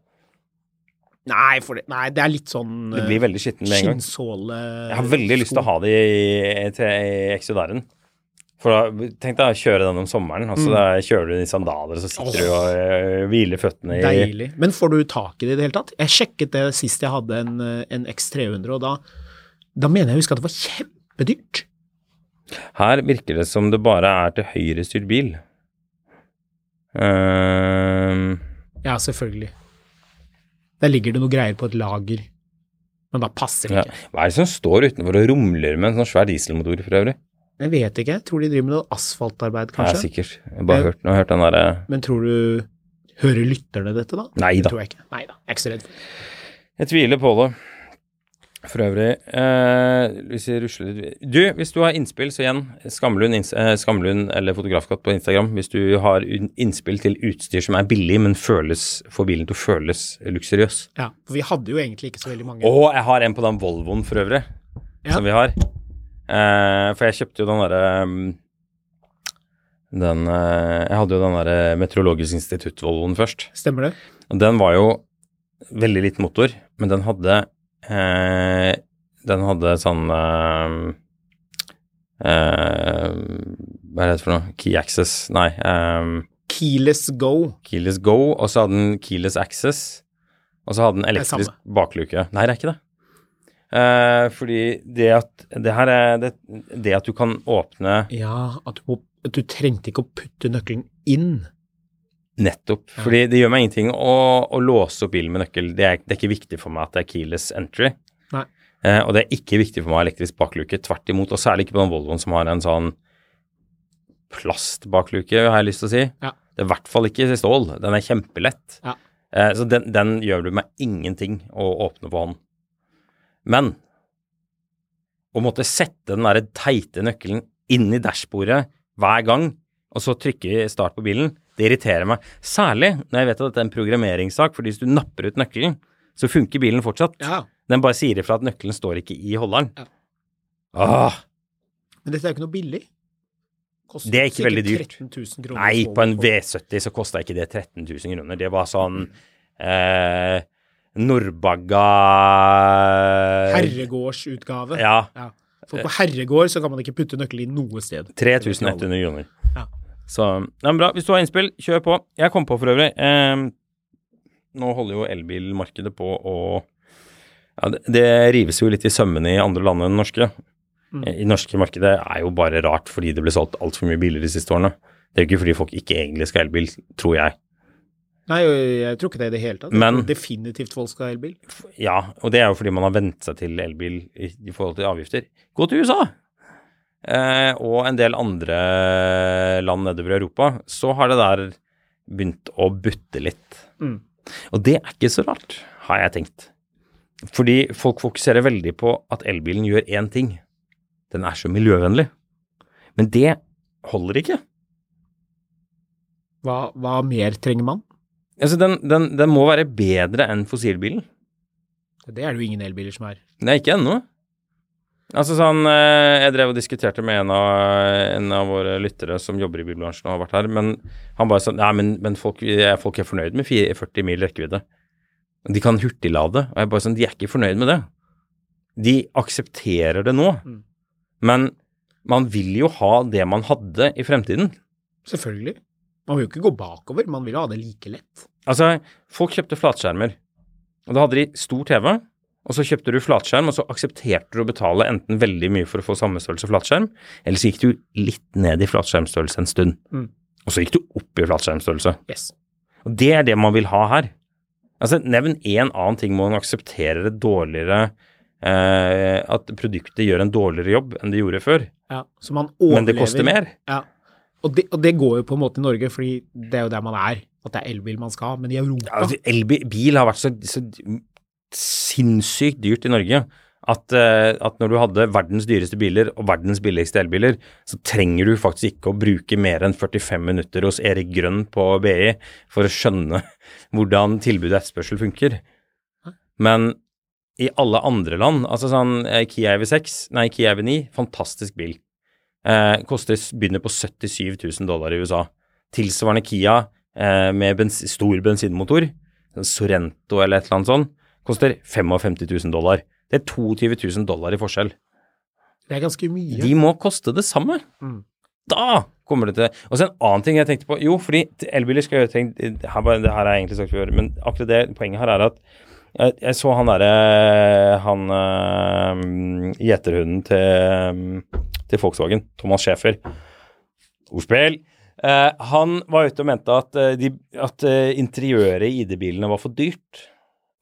[SPEAKER 2] Nei, for det, nei, det er litt sånn
[SPEAKER 1] Det blir veldig skitten med en gang.
[SPEAKER 2] skinnsåle
[SPEAKER 1] Jeg har veldig lyst til å ha de i, til- i Exodaren. For da, tenk deg å kjøre den om sommeren,
[SPEAKER 2] Mm.
[SPEAKER 1] og så da kjører du den i sandaler, og så sitter du og øh, hviler føttene i
[SPEAKER 2] Deilig. Men får du tak i det i det hele tatt? Jeg sjekket det sist jeg hadde en, eh, en X300, og da, da mener jeg å huske at det var kjempedyrt.
[SPEAKER 1] Her virker det som det bare er til høyrestyrt bil. Ehm,
[SPEAKER 2] Ja, selvfølgelig. Der ligger det noe greier på et lager, men da passer det
[SPEAKER 1] ja.
[SPEAKER 2] ikke.
[SPEAKER 1] Hva er det som står utenfor og rumler med en sånn svær dieselmotor for øvrig?
[SPEAKER 2] Jeg vet ikke. Jeg tror de driver med noe asfaltarbeid,
[SPEAKER 1] Nei,
[SPEAKER 2] kanskje.
[SPEAKER 1] sikkert. Jeg har bare hørt, nå har jeg hørt den derre
[SPEAKER 2] Men tror du Hører lytterne dette, da?
[SPEAKER 1] Nei
[SPEAKER 2] Det
[SPEAKER 1] da.
[SPEAKER 2] tror jeg ikke. Nei da. Jeg er ikke så redd. for det.
[SPEAKER 1] Jeg tviler på det. For øvrig, eh, hvis vi rusler litt Du, hvis du har innspill, så igjen, Skamlund, ins- eh, Skamlund eller Fotografkatt på Instagram. Hvis du har un- innspill til utstyr som er billig, men føles, får bilen til å føles luksuriøs.
[SPEAKER 2] Ja, for vi hadde jo egentlig ikke så veldig mange.
[SPEAKER 1] Og jeg har en på den Volvoen for øvrig,
[SPEAKER 2] Ja.
[SPEAKER 1] som vi har. Eh, for jeg kjøpte jo den derre mm, den, eh, Jeg hadde jo den derre Meteorologisk institutt-Volvoen først.
[SPEAKER 2] Stemmer det?
[SPEAKER 1] Og Den var jo veldig liten motor, men den hadde eh, Den hadde sånn eh, eh, Hva er det for noe? Key Access Nei. Eh,
[SPEAKER 2] Keyless Go.
[SPEAKER 1] keyless Go, og så hadde den Keyless Access. Og så hadde den
[SPEAKER 2] er samme.
[SPEAKER 1] elektrisk bakluke. Nei, det er ikke det. Eh, fordi det at Det her er det, det at du kan åpne
[SPEAKER 2] Ja, at du, må- at du trengte ikke å putte nøkkelen inn.
[SPEAKER 1] Nettopp. Fordi det gjør meg ingenting å, å låse opp bilen med nøkkel. Det er, det er ikke viktig for meg at det er keyless entry.
[SPEAKER 2] Nei.
[SPEAKER 1] Eh, og det er ikke viktig for meg å ha elektrisk bakluke. Tvert imot. Og særlig ikke på den Volvoen som har en sånn plastbakluke, har jeg lyst til å si.
[SPEAKER 2] Ja.
[SPEAKER 1] Det er i hvert fall ikke i stål. Den er kjempelett.
[SPEAKER 2] Ja.
[SPEAKER 1] Eh, så den, den gjør det meg ingenting å åpne på hånd. Men å måtte sette den derre teite nøkkelen inn i dashbordet hver gang, og så trykke start på bilen, det irriterer meg. Særlig når jeg vet at dette er en programmeringssak, for hvis du napper ut nøkkelen, så funker bilen fortsatt.
[SPEAKER 2] Ja.
[SPEAKER 1] Den bare sier ifra at nøkkelen står ikke i holderen.
[SPEAKER 2] Ja.
[SPEAKER 1] Åh,
[SPEAKER 2] Men dette er jo ikke noe billig. Koster
[SPEAKER 1] Det er ikke
[SPEAKER 2] sikkert
[SPEAKER 1] veldig dyrt.
[SPEAKER 2] 13 000 kroner
[SPEAKER 1] nei,
[SPEAKER 2] å få
[SPEAKER 1] på en
[SPEAKER 2] på.
[SPEAKER 1] V70 så kosta ikke det 13 000 kroner. Det var sånn eh, Nordbagga
[SPEAKER 2] Herregårdsutgave.
[SPEAKER 1] Ja.
[SPEAKER 2] Ja. For på herregård så kan man ikke putte nøkkelen i noe sted.
[SPEAKER 1] 3100 kroner.
[SPEAKER 2] Ja.
[SPEAKER 1] Så ja, men bra. Hvis du har innspill, kjør på. Jeg kom på for øvrig eh, Nå holder jo elbilmarkedet på å ja, det, det rives jo litt i sømmene i andre land enn det norske. Eh, I det norske markedet er jo bare rart fordi det ble solgt altfor mye biler de siste årene. Det er jo ikke fordi folk ikke egentlig skal ha elbil, tror jeg.
[SPEAKER 2] Nei, jeg tror ikke det i det hele tatt. Jeg
[SPEAKER 1] Men-
[SPEAKER 2] tror Definitivt folk skal ha elbil.
[SPEAKER 1] Ja, og det er jo fordi man har vent seg til elbil i, i forhold til avgifter. Gå til USA! Eh, og en del andre land nedover i Europa, så har det der begynt å butte litt.
[SPEAKER 2] Mm.
[SPEAKER 1] Og det er ikke så rart, har jeg tenkt. Fordi folk fokuserer veldig på at elbilen gjør én ting. Den er så miljøvennlig. Men det holder ikke.
[SPEAKER 2] Hva, hva mer trenger man?
[SPEAKER 1] Altså, den, den, den må være bedre enn fossilbilen.
[SPEAKER 2] Det er det jo ingen elbiler som er.
[SPEAKER 1] Nei, ikke ennå. Altså sånn, eh, Jeg drev og diskuterte med en av, en av våre lyttere som jobber i bilbransjen og har vært her, men han bare sånn Nei, men, men folk, er, folk er fornøyd med fire- 40 mil rekkevidde. De kan hurtiglade. Og jeg bare sånn De er ikke fornøyd med det. De aksepterer det nå.
[SPEAKER 2] Mm.
[SPEAKER 1] Men man vil jo ha det man hadde i fremtiden.
[SPEAKER 2] Selvfølgelig. Man vil jo ikke gå bakover, man vil jo ha det like lett.
[SPEAKER 1] Altså, folk kjøpte flatskjermer, og da hadde de stor TV, og så kjøpte du flatskjerm, og så aksepterte du å betale enten veldig mye for å få samme størrelse flatskjerm, eller så gikk du litt ned i flatskjermstørrelse en stund,
[SPEAKER 2] Mm.
[SPEAKER 1] og så gikk du opp i flatskjermstørrelse.
[SPEAKER 2] Yes.
[SPEAKER 1] Og det er det man vil ha her. Altså, nevn én annen ting man aksepterer et dårligere eh, At produktet gjør en dårligere jobb enn det gjorde før,
[SPEAKER 2] Ja, så man overlever.
[SPEAKER 1] men det koster mer.
[SPEAKER 2] Ja. Og det, og det går jo på en måte i Norge, fordi det er jo der man er. At det er elbil man skal ha. Men i Europa
[SPEAKER 1] Ja, altså, elbil bil har vært så, så sinnssykt dyrt i Norge at, eh, at når du hadde verdens dyreste biler og verdens billigste elbiler, så trenger du faktisk ikke å bruke mer enn 45 minutter hos Erik Grønn på BI for å skjønne hvordan tilbud og etterspørsel funker. Men i alle andre land, altså sånn eh, Kia EV6, nei Kia EV9, fantastisk bil. Eh, koster, begynner på 77 000 dollar i USA. Tilsvarende Kia eh, med bens stor bensinmotor, en Sorento eller et eller annet sånt, koster 55 000 dollar. Det er 22 000 dollar i forskjell.
[SPEAKER 2] det er ganske mye.
[SPEAKER 1] De må koste det samme.
[SPEAKER 2] Mm.
[SPEAKER 1] Da kommer det til Og så en annen ting jeg tenkte på. Jo, fordi t- elbiler skal gjøre ting det her, var- det her har jeg egentlig sagt før, men akkurat det poenget her er at jeg, jeg så han derre Han øh, gjeterhunden til, til Volkswagen, Thomas Schäfer. Ordspill. Eh, han var ute og mente at, eh, de, at eh, interiøret i ID-bilene var for dyrt.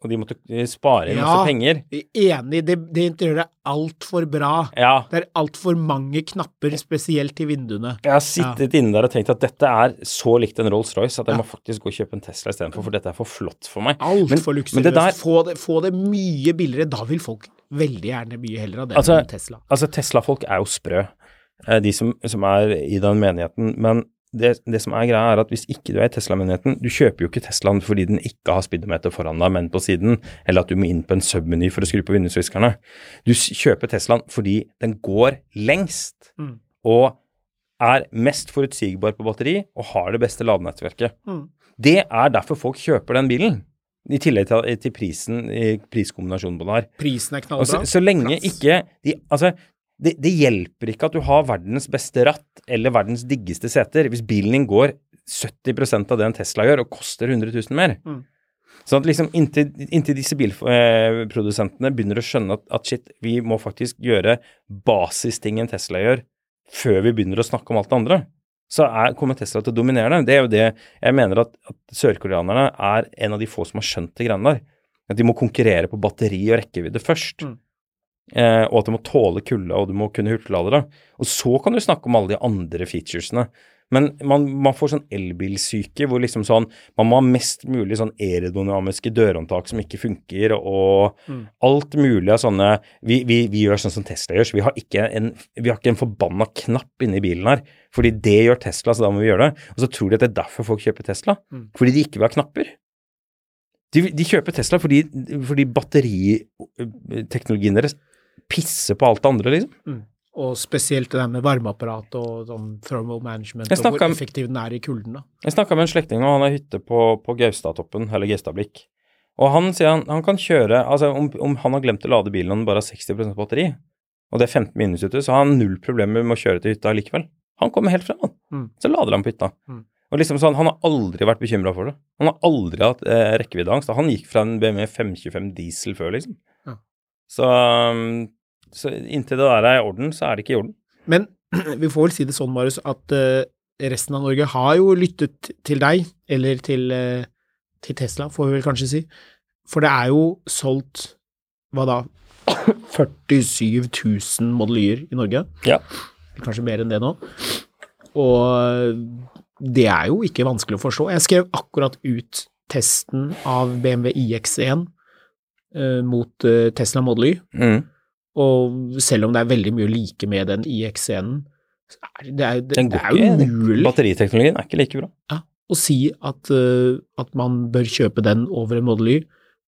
[SPEAKER 1] og de måtte eh, spare inn
[SPEAKER 2] Ja.
[SPEAKER 1] masse penger.
[SPEAKER 2] Enig, det, det interiøret er altfor bra.
[SPEAKER 1] Ja.
[SPEAKER 2] Det er altfor mange knapper, spesielt til vinduene.
[SPEAKER 1] Jeg har sittet inne der og tenkt at dette er så likt en Rolls-Royce at jeg må faktisk gå og kjøpe en Tesla istedenfor, for dette er for flott for meg. Men-
[SPEAKER 2] Altfor
[SPEAKER 1] Men det
[SPEAKER 2] luksuriøst.
[SPEAKER 1] der,
[SPEAKER 2] Få, det- få det mye billigere, da vil folk veldig gjerne mye heller av det
[SPEAKER 1] altså,
[SPEAKER 2] enn Tesla.
[SPEAKER 1] altså Tesla-folk er jo sprø, eh, de som, som er i den menigheten. Men det, det som er greia, er at hvis ikke du er i Tesla-menigheten Du kjøper jo ikke Teslaen fordi den ikke har speedometer foran deg, men på siden, eller at du må inn på en sub-meny for å skru på vindusviskerne. Du s- kjøper Teslaen fordi den går lengst og er mest forutsigbar på batteri og har det beste ladenettverket. Det er derfor folk kjøper den bilen. I tillegg til, til prisen, i priskombinasjonen på den her.
[SPEAKER 2] Prisen er knallbra.
[SPEAKER 1] Og så, så lenge ikke de, Altså, det, det hjelper ikke at du har verdens beste ratt eller verdens diggeste seter hvis bilen din går 70 av det en Tesla gjør og koster 100 000 mer. Sånn at liksom inntil, inntil disse bilprodusentene begynner å skjønne at, at shit, vi må faktisk gjøre basisting en Tesla gjør, før vi begynner å snakke om alt det andre, så er, kommer Tesla til å dominere det. Det er jo det jeg mener at, at sørkoreanerne er en av de få som har skjønt de greiene der. At de må konkurrere på batteri og rekkevidde først. Eh, og at du må tåle kulde, og du må kunne hurtiglade det. Og så kan du snakke om alle de andre featuresene. Men man, man får sånn elbilsyke hvor liksom sånn Man må ha mest mulig sånn aerodynamiske dørhåndtak som ikke funker, og alt mulig av sånne vi, vi, vi gjør sånn som Tesla gjør, så vi har ikke en, vi har ikke en forbanna knapp inni bilen her. Fordi det gjør Tesla, så da må vi gjøre det. Og så tror de at det er derfor folk kjøper Tesla. Fordi de ikke vil ha knapper. De, de kjøper Tesla fordi, fordi batteriteknologien deres pisser på alt det andre, liksom.
[SPEAKER 2] Og spesielt det der med varmeapparat og sånn thermal management,
[SPEAKER 1] Jeg
[SPEAKER 2] og hvor
[SPEAKER 1] snakket om-
[SPEAKER 2] effektiv den er i kulden. da.
[SPEAKER 1] Jeg snakka med en slektning nå, han har hytte på, på Gaustatoppen, eller Gaustablikk. Og han sier han, han kan kjøre Altså, om, om han har glemt å lade bilen og den bare har 60 batteri, og det er 15 minus ute, så har han null problemer med å kjøre til hytta likevel. Han kommer helt frem, han.
[SPEAKER 2] Mm.
[SPEAKER 1] Så lader han på hytta. Og liksom sånn, Han har aldri vært bekymra for det. Han har aldri hatt eh, rekkeviddeangst. Han gikk fra en BMW 525 diesel før, liksom.
[SPEAKER 2] Ja.
[SPEAKER 1] Så, um, så inntil det der er i orden, så er det ikke i orden.
[SPEAKER 2] Men vi får vel si det sånn, Marius, at eh, resten av Norge har jo lyttet til deg, eller til, eh, til Tesla, får vi vel kanskje si. For det er jo solgt, hva da, 47 000 Model Y-er i Norge.
[SPEAKER 1] Ja.
[SPEAKER 2] Kanskje mer enn det nå. Og eh, det er jo ikke vanskelig å forstå. Jeg skrev akkurat ut testen av BMW iX1 eh, mot eh, Tesla Model Y.
[SPEAKER 1] Mm.
[SPEAKER 2] Og selv om det er veldig mye å like med den IX-scenen, så er det, det, er, det,
[SPEAKER 1] Den
[SPEAKER 2] det
[SPEAKER 1] går
[SPEAKER 2] er jo
[SPEAKER 1] ikke.
[SPEAKER 2] umulig
[SPEAKER 1] Batteriteknologien er ikke like bra.
[SPEAKER 2] ja, å si at, eh, at man bør kjøpe den over en Model Y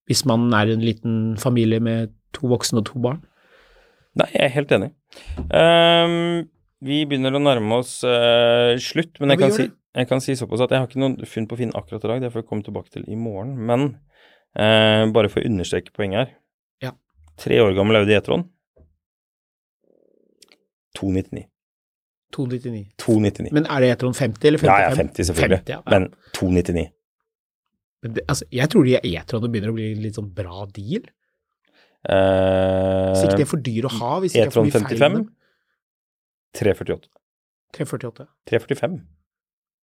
[SPEAKER 2] hvis man er en liten familie med to voksne og to barn.
[SPEAKER 1] Nei, jeg er helt enig. Ehm, vi begynner å nærme oss eh, slutt, men jeg
[SPEAKER 2] Ja, vi
[SPEAKER 1] kan,
[SPEAKER 2] gjør
[SPEAKER 1] si,
[SPEAKER 2] det.
[SPEAKER 1] jeg kan si såpass at jeg har ikke noen funn på Finn akkurat i dag, det får jeg komme tilbake til i morgen. Men eh, bare for å understreke poenget her.
[SPEAKER 2] Ja.
[SPEAKER 1] Tre år gammel Audi E-tron. 299.
[SPEAKER 2] 299.
[SPEAKER 1] 299.
[SPEAKER 2] Men er det Etron 50 eller 55?
[SPEAKER 1] ja, ja, 50 selvfølgelig,
[SPEAKER 2] 50, ja.
[SPEAKER 1] men 299.
[SPEAKER 2] Men det, altså, jeg tror de E-tronene begynner å bli en litt sånn bra deal. Hvis ikke det
[SPEAKER 1] Eh,
[SPEAKER 2] er for dyr å ha, hvis ikke det er for
[SPEAKER 1] E-tron
[SPEAKER 2] mye feil
[SPEAKER 1] 55?
[SPEAKER 2] med dem.
[SPEAKER 1] 348.
[SPEAKER 2] 348.
[SPEAKER 1] 345.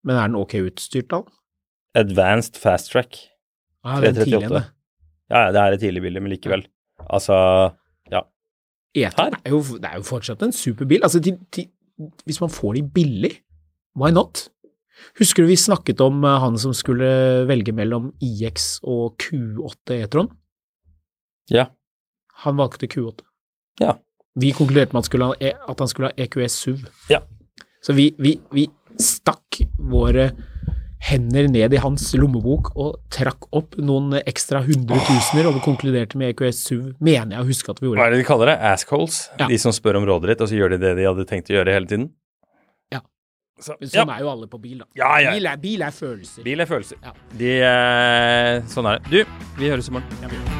[SPEAKER 2] Men er den ok utstyrt, da?
[SPEAKER 1] Advanced fast track.
[SPEAKER 2] Ah, den
[SPEAKER 1] 338.
[SPEAKER 2] tidligere.
[SPEAKER 1] Ja, ja, det er et tidlig bilde, men likevel. Altså, ja.
[SPEAKER 2] E-tron
[SPEAKER 1] Her?
[SPEAKER 2] er, jo- det er jo fortsatt en superbil. Altså, de, de, hvis man får de billig, why not? Husker du vi snakket om eh, han som skulle velge mellom IX og Q8 E-tron?
[SPEAKER 1] Ja.
[SPEAKER 2] Han valgte Q8.
[SPEAKER 1] Ja.
[SPEAKER 2] Vi konkluderte med at, skulle ha, E- at han skulle ha EQS SUV.
[SPEAKER 1] Ja.
[SPEAKER 2] Så vi, vi, vi stakk våre hender ned i hans lommebok og trakk opp noen ekstra hundretusener, og vi konkluderte med E EQS SUV, mener jeg å huske at vi
[SPEAKER 1] Hva
[SPEAKER 2] gjorde.
[SPEAKER 1] er det de kaller det? Assholes?
[SPEAKER 2] Ja.
[SPEAKER 1] De som spør om rådet ditt, og så gjør de det de hadde tenkt å gjøre hele tiden?
[SPEAKER 2] Ja.
[SPEAKER 1] Så,
[SPEAKER 2] Men
[SPEAKER 1] Altså, ja.
[SPEAKER 2] Sånn er jo alle på bil, da.
[SPEAKER 1] Ja, ja.
[SPEAKER 2] Bil, er, bil er følelser.
[SPEAKER 1] Bil er følelser.
[SPEAKER 2] Ja.
[SPEAKER 1] De, eh, sånn er det. Du, vi høres i morgen.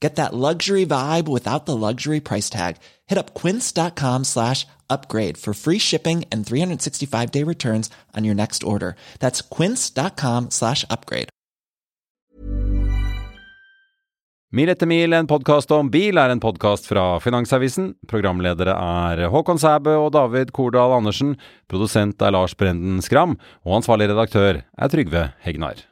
[SPEAKER 4] Get that luxury vibe without the luxury price tag. Hit up quince.com slash upgrade for free shipping and 365-day returns on your next order. That's quince.com slash upgrade.
[SPEAKER 1] Mil etter mil, en podkast om bil, er en podkast fra Finansavisen. Programledere er Håkon Sæbø og David Kordal Andersen. Produsent er Lars Brenden Skram. Og ansvarlig redaktør er Trygve Hegnar.